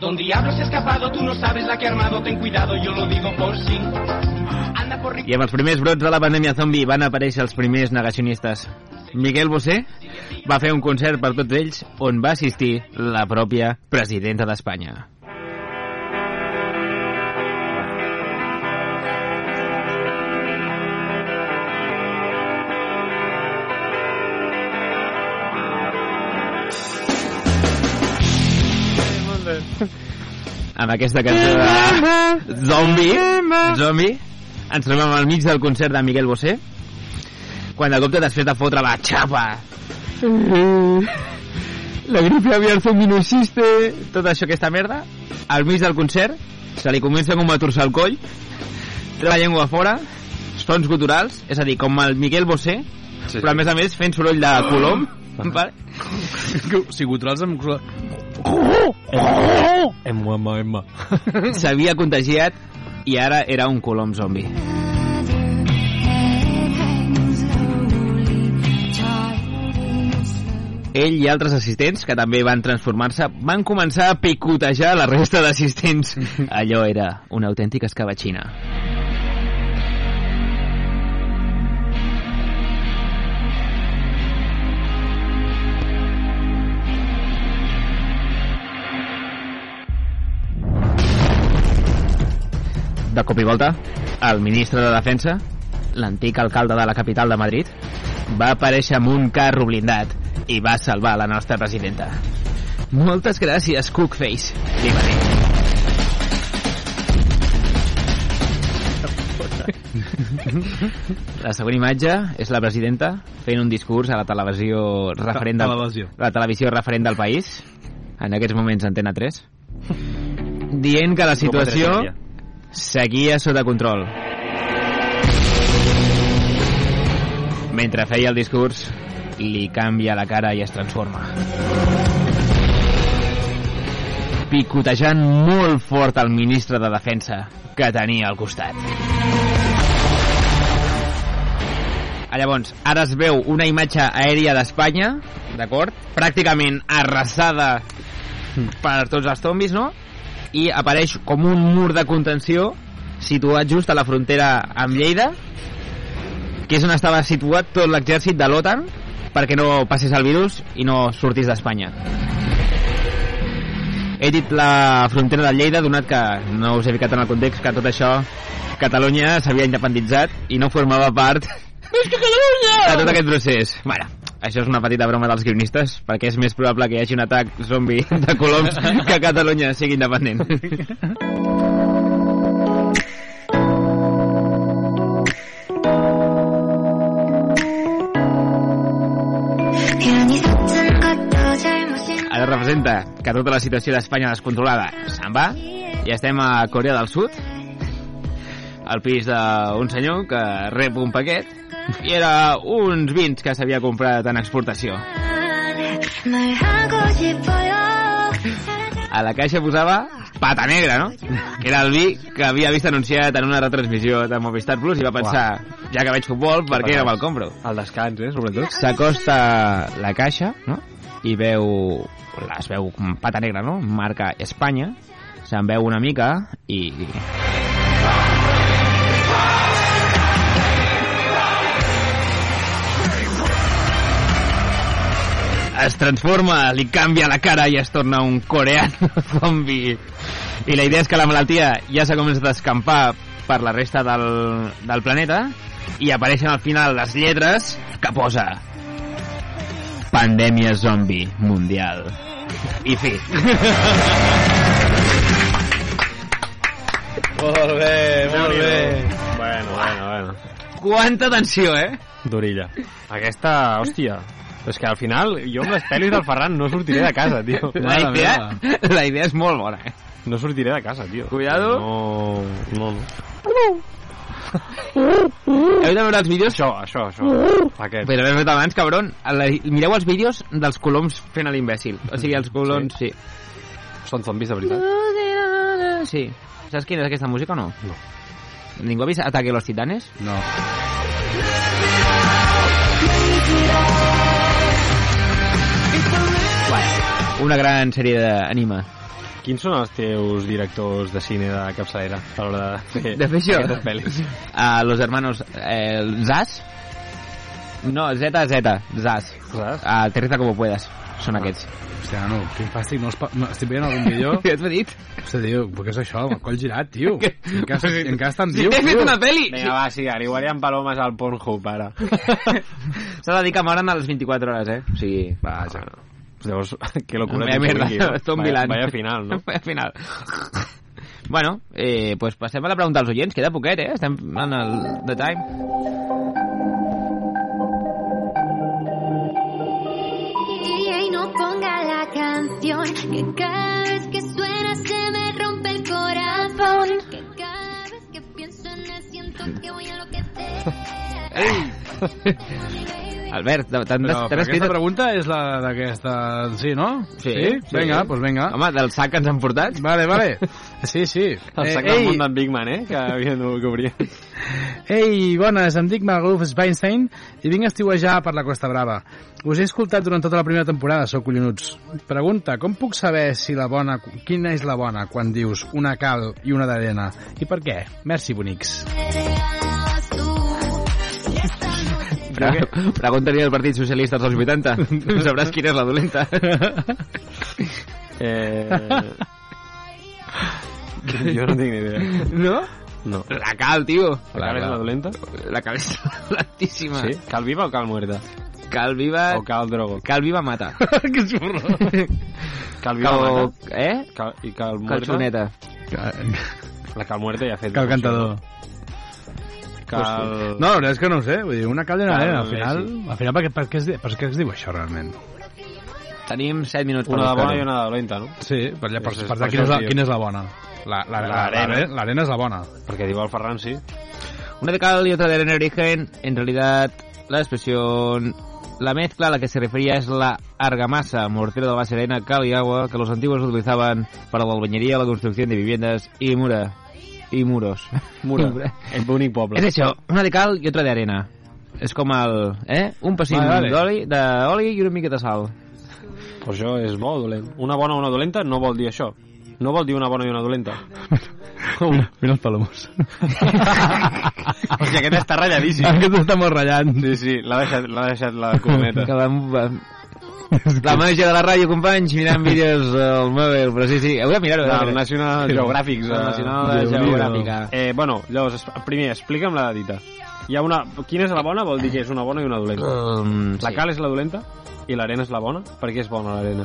Speaker 13: Don Diablo se ha escapado, tú no sabes la que ha armado, ten cuidado, yo lo digo por sí. Anda por
Speaker 1: I amb els primers brots de la pandèmia zombi van aparèixer els primers negacionistes. Miguel Bosé va fer un concert per tots ells on va assistir la pròpia presidenta d'Espanya. amb aquesta cançó de Zombie, Zombie, ens trobem al mig del concert de Miguel Bosé, quan de copte t'has fet a fotre la xapa. La gripe havia alzat un minusiste, tot això, aquesta merda, al mig del concert, se li comença com a torçar el coll, treu la llengua fora, sons guturals, és a dir, com el Miguel Bosé, sí, però a més a més fent soroll de colom,
Speaker 3: Ah.
Speaker 1: vale?
Speaker 14: Si guturals amb...
Speaker 1: Emma, Emma, Emma. S'havia contagiat i ara era un colom zombi. Ell i altres assistents, que també van transformar-se, van començar a picotejar la resta d'assistents. Allò era una autèntica escabatxina. De cop i volta, el ministre de Defensa, l'antic alcalde de la capital de Madrid, va aparèixer amb un carro blindat i va salvar la nostra presidenta. Moltes gràcies, Cookface, li va dir. La següent imatge és la presidenta fent un discurs a la televisió referent del,
Speaker 14: televisió.
Speaker 1: la televisió referent del país, en aquests moments Antena 3, dient que la situació
Speaker 14: Com a tres
Speaker 1: seguia sota control. Mentre feia el discurs, li canvia la cara i es transforma. Picotejant molt fort el ministre de Defensa que tenia al costat. Ah, Llavors, ara es veu una imatge aèria d'Espanya, d'acord? Pràcticament arrasada per tots els zombis, no? I apareix com un mur de contenció situat just a la frontera amb Lleida, que és on estava situat tot l'exèrcit de l'OTAN perquè no passés el virus i no sortís d'Espanya. He dit la frontera de Lleida, donat que no us he ficat en el context que tot això Catalunya s'havia independitzat i no formava part de tot aquest procés. Bueno, això és una petita broma dels guionistes, perquè és més probable que hi hagi un atac zombi de coloms que Catalunya sigui independent. Ara representa que tota la situació d'Espanya descontrolada se'n va i estem a Corea del Sud al pis d'un senyor que rep un paquet i era uns vins que s'havia comprat en exportació. A la caixa posava pata negra, no? Que era el vi que havia vist anunciat en una retransmissió de Movistar Plus i va pensar, ja que veig futbol, per què no me'l compro?
Speaker 3: Al descans, eh, sobretot.
Speaker 1: S'acosta la caixa, no? I veu... Es veu com pata negra, no? Marca Espanya. Se'n veu una mica i... Es transforma, li canvia la cara i es torna un coreano zombi. I la idea és que la malaltia ja s'ha començat a escampar per la resta del, del planeta i apareixen al final les lletres que posa Pandèmia zombi mundial. I fi.
Speaker 14: Molt bé, molt bé.
Speaker 3: Bueno, bueno, bueno.
Speaker 1: Quanta tensió, eh?
Speaker 3: D'orilla. Aquesta, hòstia, és que al final jo amb les pel·lis del Ferran no sortiré de casa, tio.
Speaker 1: La idea, la idea és molt bona, eh?
Speaker 3: No sortiré de casa, tio.
Speaker 1: Cuidado.
Speaker 3: No, no, no.
Speaker 1: Heu de veure els vídeos?
Speaker 3: Això, això, això.
Speaker 14: Uh-huh.
Speaker 3: Aquest.
Speaker 1: Però l'hem fet abans, cabron. La- Mireu els vídeos dels coloms fent a l'imbècil. O sigui, els coloms, sí.
Speaker 3: Són zombis, de veritat.
Speaker 1: Sí. Saps quina és aquesta música o no?
Speaker 3: No.
Speaker 1: Ningú ha vist Ataque a los Titanes?
Speaker 14: No.
Speaker 1: Una gran sèrie d'anima.
Speaker 14: Uh-huh.
Speaker 3: Quins són els teus directors de cine de capçalera a l'hora de fer,
Speaker 1: De fer això?
Speaker 3: aquestes pel·lis?
Speaker 1: A los hermanos eh, Zaz? No, Z, Z, Zaz.
Speaker 3: Zaz?
Speaker 1: A Eh, Aterriza como puedas. Són aquests.
Speaker 14: Hòstia, no, quin fàstic, no, els pa... no estic veient algun vídeo.
Speaker 1: Què has dit?
Speaker 14: Hòstia, tio, però què és això? Amb el coll girat, tio. Encara, encara estan
Speaker 1: Si
Speaker 14: viu,
Speaker 1: t'he fet
Speaker 14: tio.
Speaker 1: una peli!
Speaker 3: Vinga, va, sí, ara igual hi ha palomes al Pornhub, ara.
Speaker 1: S'ha de dir que moren a les 24 hores, eh? O sigui, va, ja.
Speaker 3: Ah, Llavors, que locura.
Speaker 1: Vaya mierda,
Speaker 3: Tom
Speaker 1: Tom Milan.
Speaker 3: Vaya final, no?
Speaker 1: Vaya final. Bueno, eh, pues passem a la pregunta als oients, queda poquet, eh? Estem en el The Time.
Speaker 5: Y no ponga la canción que cada vez que suena se me rompe el corazón. Que cada vez que pienso en él siento que voy a lo que
Speaker 1: Albert, t'han
Speaker 14: Però,
Speaker 1: t'han
Speaker 14: però
Speaker 1: escrit...
Speaker 14: aquesta pregunta és la d'aquesta... Sí, no?
Speaker 1: Sí, sí.
Speaker 14: Vinga, doncs pues vinga.
Speaker 1: Ah. Home, del sac ens han portat.
Speaker 14: Vale, vale. Sí, sí.
Speaker 3: El sac del món d'en Big Man, eh? Que havia de cobrir.
Speaker 14: Ei, bones, em dic Margaluf Weinstein i vinc a estiuejar per la Costa Brava. Us he escoltat durant tota la primera temporada, sou collonuts. Pregunta, com puc saber si la bona... quina és la bona quan dius una cal i una d'arena? I per què? Merci, bonics.
Speaker 1: Pre Pregunta-li al Partit Socialista als anys 80. Tu sabràs quina és la dolenta.
Speaker 3: Eh... Jo no tinc ni idea.
Speaker 1: No?
Speaker 3: No.
Speaker 1: La cal, tio.
Speaker 3: La cal és la dolenta?
Speaker 1: La cal és dolentíssima.
Speaker 3: Sí? Cal viva o cal muerta?
Speaker 1: Cal viva...
Speaker 3: O cal drogo?
Speaker 1: Cal viva mata.
Speaker 14: que xurro.
Speaker 3: Cal viva
Speaker 1: Cal-
Speaker 3: mata.
Speaker 1: Eh?
Speaker 3: Cal, I cal muerta?
Speaker 1: Calçoneta.
Speaker 3: La cal muerta ja ha fet...
Speaker 14: Cal cantador.
Speaker 3: Cal...
Speaker 14: No, la veritat és que no ho sé. Vull dir, una cal i una
Speaker 3: Cal
Speaker 14: d'arena. Al final,
Speaker 3: Messi.
Speaker 14: al final per, què, per, què es, di- per què es diu això, realment?
Speaker 1: Tenim 7 minuts per
Speaker 3: Una de bona
Speaker 1: buscar-ho.
Speaker 3: i una de dolenta, no?
Speaker 14: Sí, per, allà, per, per,
Speaker 3: Això és-
Speaker 14: per,
Speaker 3: per
Speaker 14: quina,
Speaker 3: això
Speaker 14: és la,
Speaker 3: es diu.
Speaker 14: quina és la bona? La- la- la-
Speaker 3: L'arena.
Speaker 14: la- L'arena és la bona.
Speaker 3: Perquè diu el Ferran, sí.
Speaker 1: Una de cal y otra de arena origen. En realidad, la expresión, la mezcla a la que se refería es la argamasa, mortero de base de arena, cal y agua, que los antiguos utilizaban para la albañería, la construcción de viviendas y mura. Y muros.
Speaker 3: Mura. El bonic poble.
Speaker 1: És això, una de cal i otra de arena. És com el... Eh? Un pessic
Speaker 3: Vale,
Speaker 1: vale,
Speaker 3: vale.
Speaker 1: d'oli d'oli i una mica de sal.
Speaker 3: Però això és bo o dolent. Una bona o una dolenta no vol dir això. No vol dir una bona i una dolenta.
Speaker 14: Mira, mira els palomos.
Speaker 3: Hòstia, aquest està ratlladíssim.
Speaker 14: Aquest està molt ratllant.
Speaker 3: Sí, sí, l'ha deixat, l'ha deixat la cometa.
Speaker 1: Que vam, vam... La màgia de la ràdio, companys, mirant vídeos al mòbil, però sí, sí, heu de mirar-ho. heu de
Speaker 3: Del
Speaker 1: mirar-ho.
Speaker 3: National Geographic.
Speaker 1: Del National Geogràfica.
Speaker 3: Eh, bueno, llavors, es- primer, explica'm la dita. Hi ha una... Quina és la bona? Vol dir que és una bona i una dolenta.
Speaker 1: Um,
Speaker 3: La cal és la dolenta i l'arena és la bona. Per què és bona l'arena?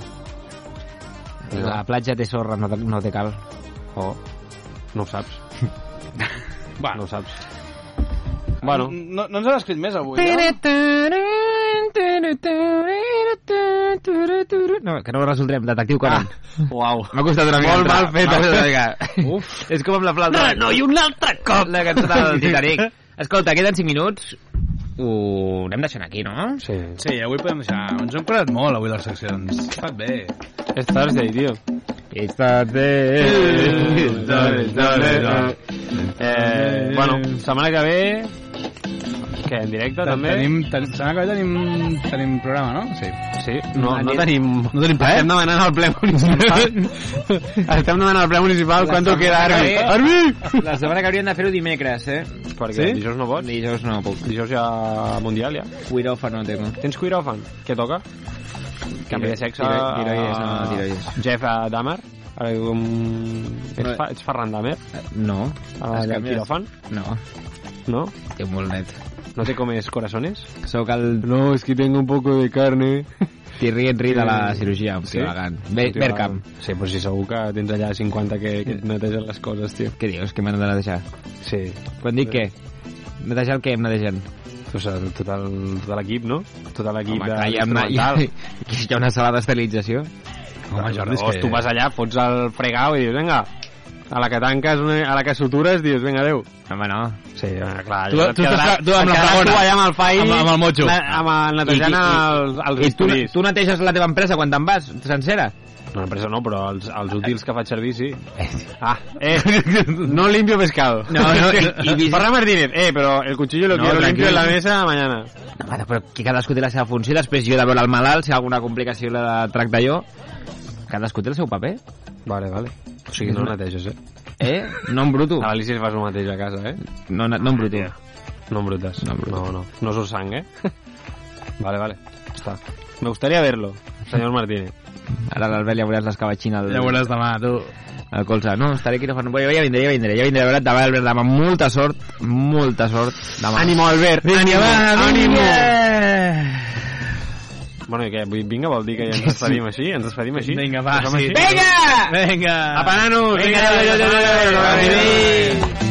Speaker 1: La platja té sorra, no, te- no té cal.
Speaker 3: Oh, no ho saps. Va, no ho saps. Bueno,
Speaker 15: No, no ens han escrit més avui, no?
Speaker 1: No, que no ho resoldrem, detectiu Conan. Ah,
Speaker 3: uau.
Speaker 1: M'ha costat una mica.
Speaker 3: Molt
Speaker 1: entrar.
Speaker 3: mal fet,
Speaker 1: M'ha costat una
Speaker 3: eh?
Speaker 1: mica. És com amb la flauta.
Speaker 3: No, no, i
Speaker 1: un altre cop! La cançó del Titanic. Escolta, queden 5 minuts. Ho anem deixant aquí, no?
Speaker 3: Sí.
Speaker 14: Sí, avui podem deixar... Ens hem parat molt, avui, les seccions. Ha estat bé.
Speaker 3: És Thursday, tio.
Speaker 1: It's
Speaker 3: Eh,
Speaker 1: Thursday.
Speaker 3: It's Thursday, Thursday. Eh, bueno, setmana que ve... Què, en directe, també?
Speaker 14: Tenim, ten, sembla que avui tenim, tenim programa, no? Sí.
Speaker 3: Sí, no, no tenim...
Speaker 14: No tenim plaer.
Speaker 3: Estem demanant al ple municipal. Estem demanant al ple municipal
Speaker 1: La
Speaker 3: quanto
Speaker 1: setmana
Speaker 3: queda
Speaker 1: que
Speaker 3: Arbi.
Speaker 1: ve-
Speaker 3: Arbi!
Speaker 1: La setmana que hauríem de fer-ho dimecres, eh?
Speaker 3: Perquè dijous no pots?
Speaker 1: Dijous no puc.
Speaker 3: Dijous ja mundial, ja.
Speaker 1: Cuiròfan no tengo.
Speaker 3: Tens cuiròfan? Què toca? Canvi de sexe...
Speaker 1: Tiro- tiroides, no,
Speaker 3: a-
Speaker 1: tiroides.
Speaker 3: Jeff eh, Dahmer? Ara, Um, ets, fa, ets Ferran Dahmer?
Speaker 1: Eh, No.
Speaker 3: Ah,
Speaker 1: Es
Speaker 3: el
Speaker 1: canvia-
Speaker 3: quiròfan?
Speaker 1: No.
Speaker 3: No?
Speaker 1: Té molt net.
Speaker 3: ¿No te comes corazones?
Speaker 1: Sóc el...
Speaker 3: No, es que tengo un poco de carne.
Speaker 1: Thierry Henry de la cirurgia, un tio elegant. Be-
Speaker 3: Un tio
Speaker 1: Bergkamp.
Speaker 3: elegant. Sí, però si segur que tens allà 50 que, que et netegen les coses, tio.
Speaker 1: Què dius? Que m'han de netejar?
Speaker 3: Sí.
Speaker 1: Quan dic què? Netejar el què em netejant?
Speaker 3: O sigui, tot el- eh, tot l'equip, no? Tot l'equip
Speaker 1: Home,
Speaker 3: de...
Speaker 1: clar, hi ha, una, hi, ha,
Speaker 3: instrumental.
Speaker 1: hi ha una sala d'esterilització.
Speaker 14: Home, Jordi, és
Speaker 3: Llavors
Speaker 14: que-
Speaker 3: tu vas allà, fots el fregau i dius, vinga, a la que tanques, una, a la que sutures, dius, vinga, adeu.
Speaker 1: Home, no.
Speaker 3: Sí, home, Ah, clar.
Speaker 14: Tu-
Speaker 3: llavors et
Speaker 14: tu estàs-
Speaker 3: quedaràs-
Speaker 14: tu amb
Speaker 3: et
Speaker 14: la
Speaker 3: quedaràs
Speaker 14: fragona.
Speaker 3: tu allà amb el fai...
Speaker 14: Amb- amb el motxo.
Speaker 3: la- Amb el netejant
Speaker 1: I- i-
Speaker 3: els,
Speaker 1: I
Speaker 3: els
Speaker 1: tu,
Speaker 3: bisturís.
Speaker 1: tu neteges la teva empresa quan te'n vas, sencera?
Speaker 3: No, empresa no, però els, els útils que faig servir, sí. Ah, eh, no limpio pescado.
Speaker 1: No, no, i- i-
Speaker 3: Ferran Martínez, eh, pero el cuchillo lo
Speaker 1: No,
Speaker 3: quiero
Speaker 1: tranquil.
Speaker 3: limpio en la mesa mañana.
Speaker 1: No, bueno, però que cadascú té la seva funció, després jo he de veure el malalt, si hi ha alguna complicació la de tractar jo. Cadascú té el seu paper,
Speaker 3: Vale, vale. O sigui,
Speaker 1: És
Speaker 3: no
Speaker 1: una-
Speaker 3: neteges, eh?
Speaker 1: eh? No en bruto.
Speaker 3: A l'Alicia es fas el mateix a casa, eh?
Speaker 1: No, no, no en bruto.
Speaker 3: No embrutes. No, no, no. No sos sang, eh? Vale, vale. Està. Me gustaría verlo, señor Martínez.
Speaker 1: Ara a l'Albert ja veuràs l'escabatxina al,
Speaker 14: Ja ho veuràs demà, tu.
Speaker 1: al colze. No, estaré aquí, no fa... Bueno, Ja vindré, ja vindré, ja vindré. A veure, demà, Albert, demà, molta sort, molta sort. Demà.
Speaker 3: Ànimo, Albert.
Speaker 1: Vinga,
Speaker 3: Ànimo.
Speaker 1: va,
Speaker 3: Ànimo.
Speaker 1: vinga.
Speaker 3: Bueno, Bueno, i què? Vull- Vinga, vol dir que ja ens despedim així? Ens despedim així? Vinga,
Speaker 1: va, sí.
Speaker 3: Vinga!
Speaker 1: Vinga!
Speaker 3: Apa, nanos!
Speaker 1: Vinga, adéu, adéu, adéu, adéu, adéu, adéu.
Speaker 3: adéu.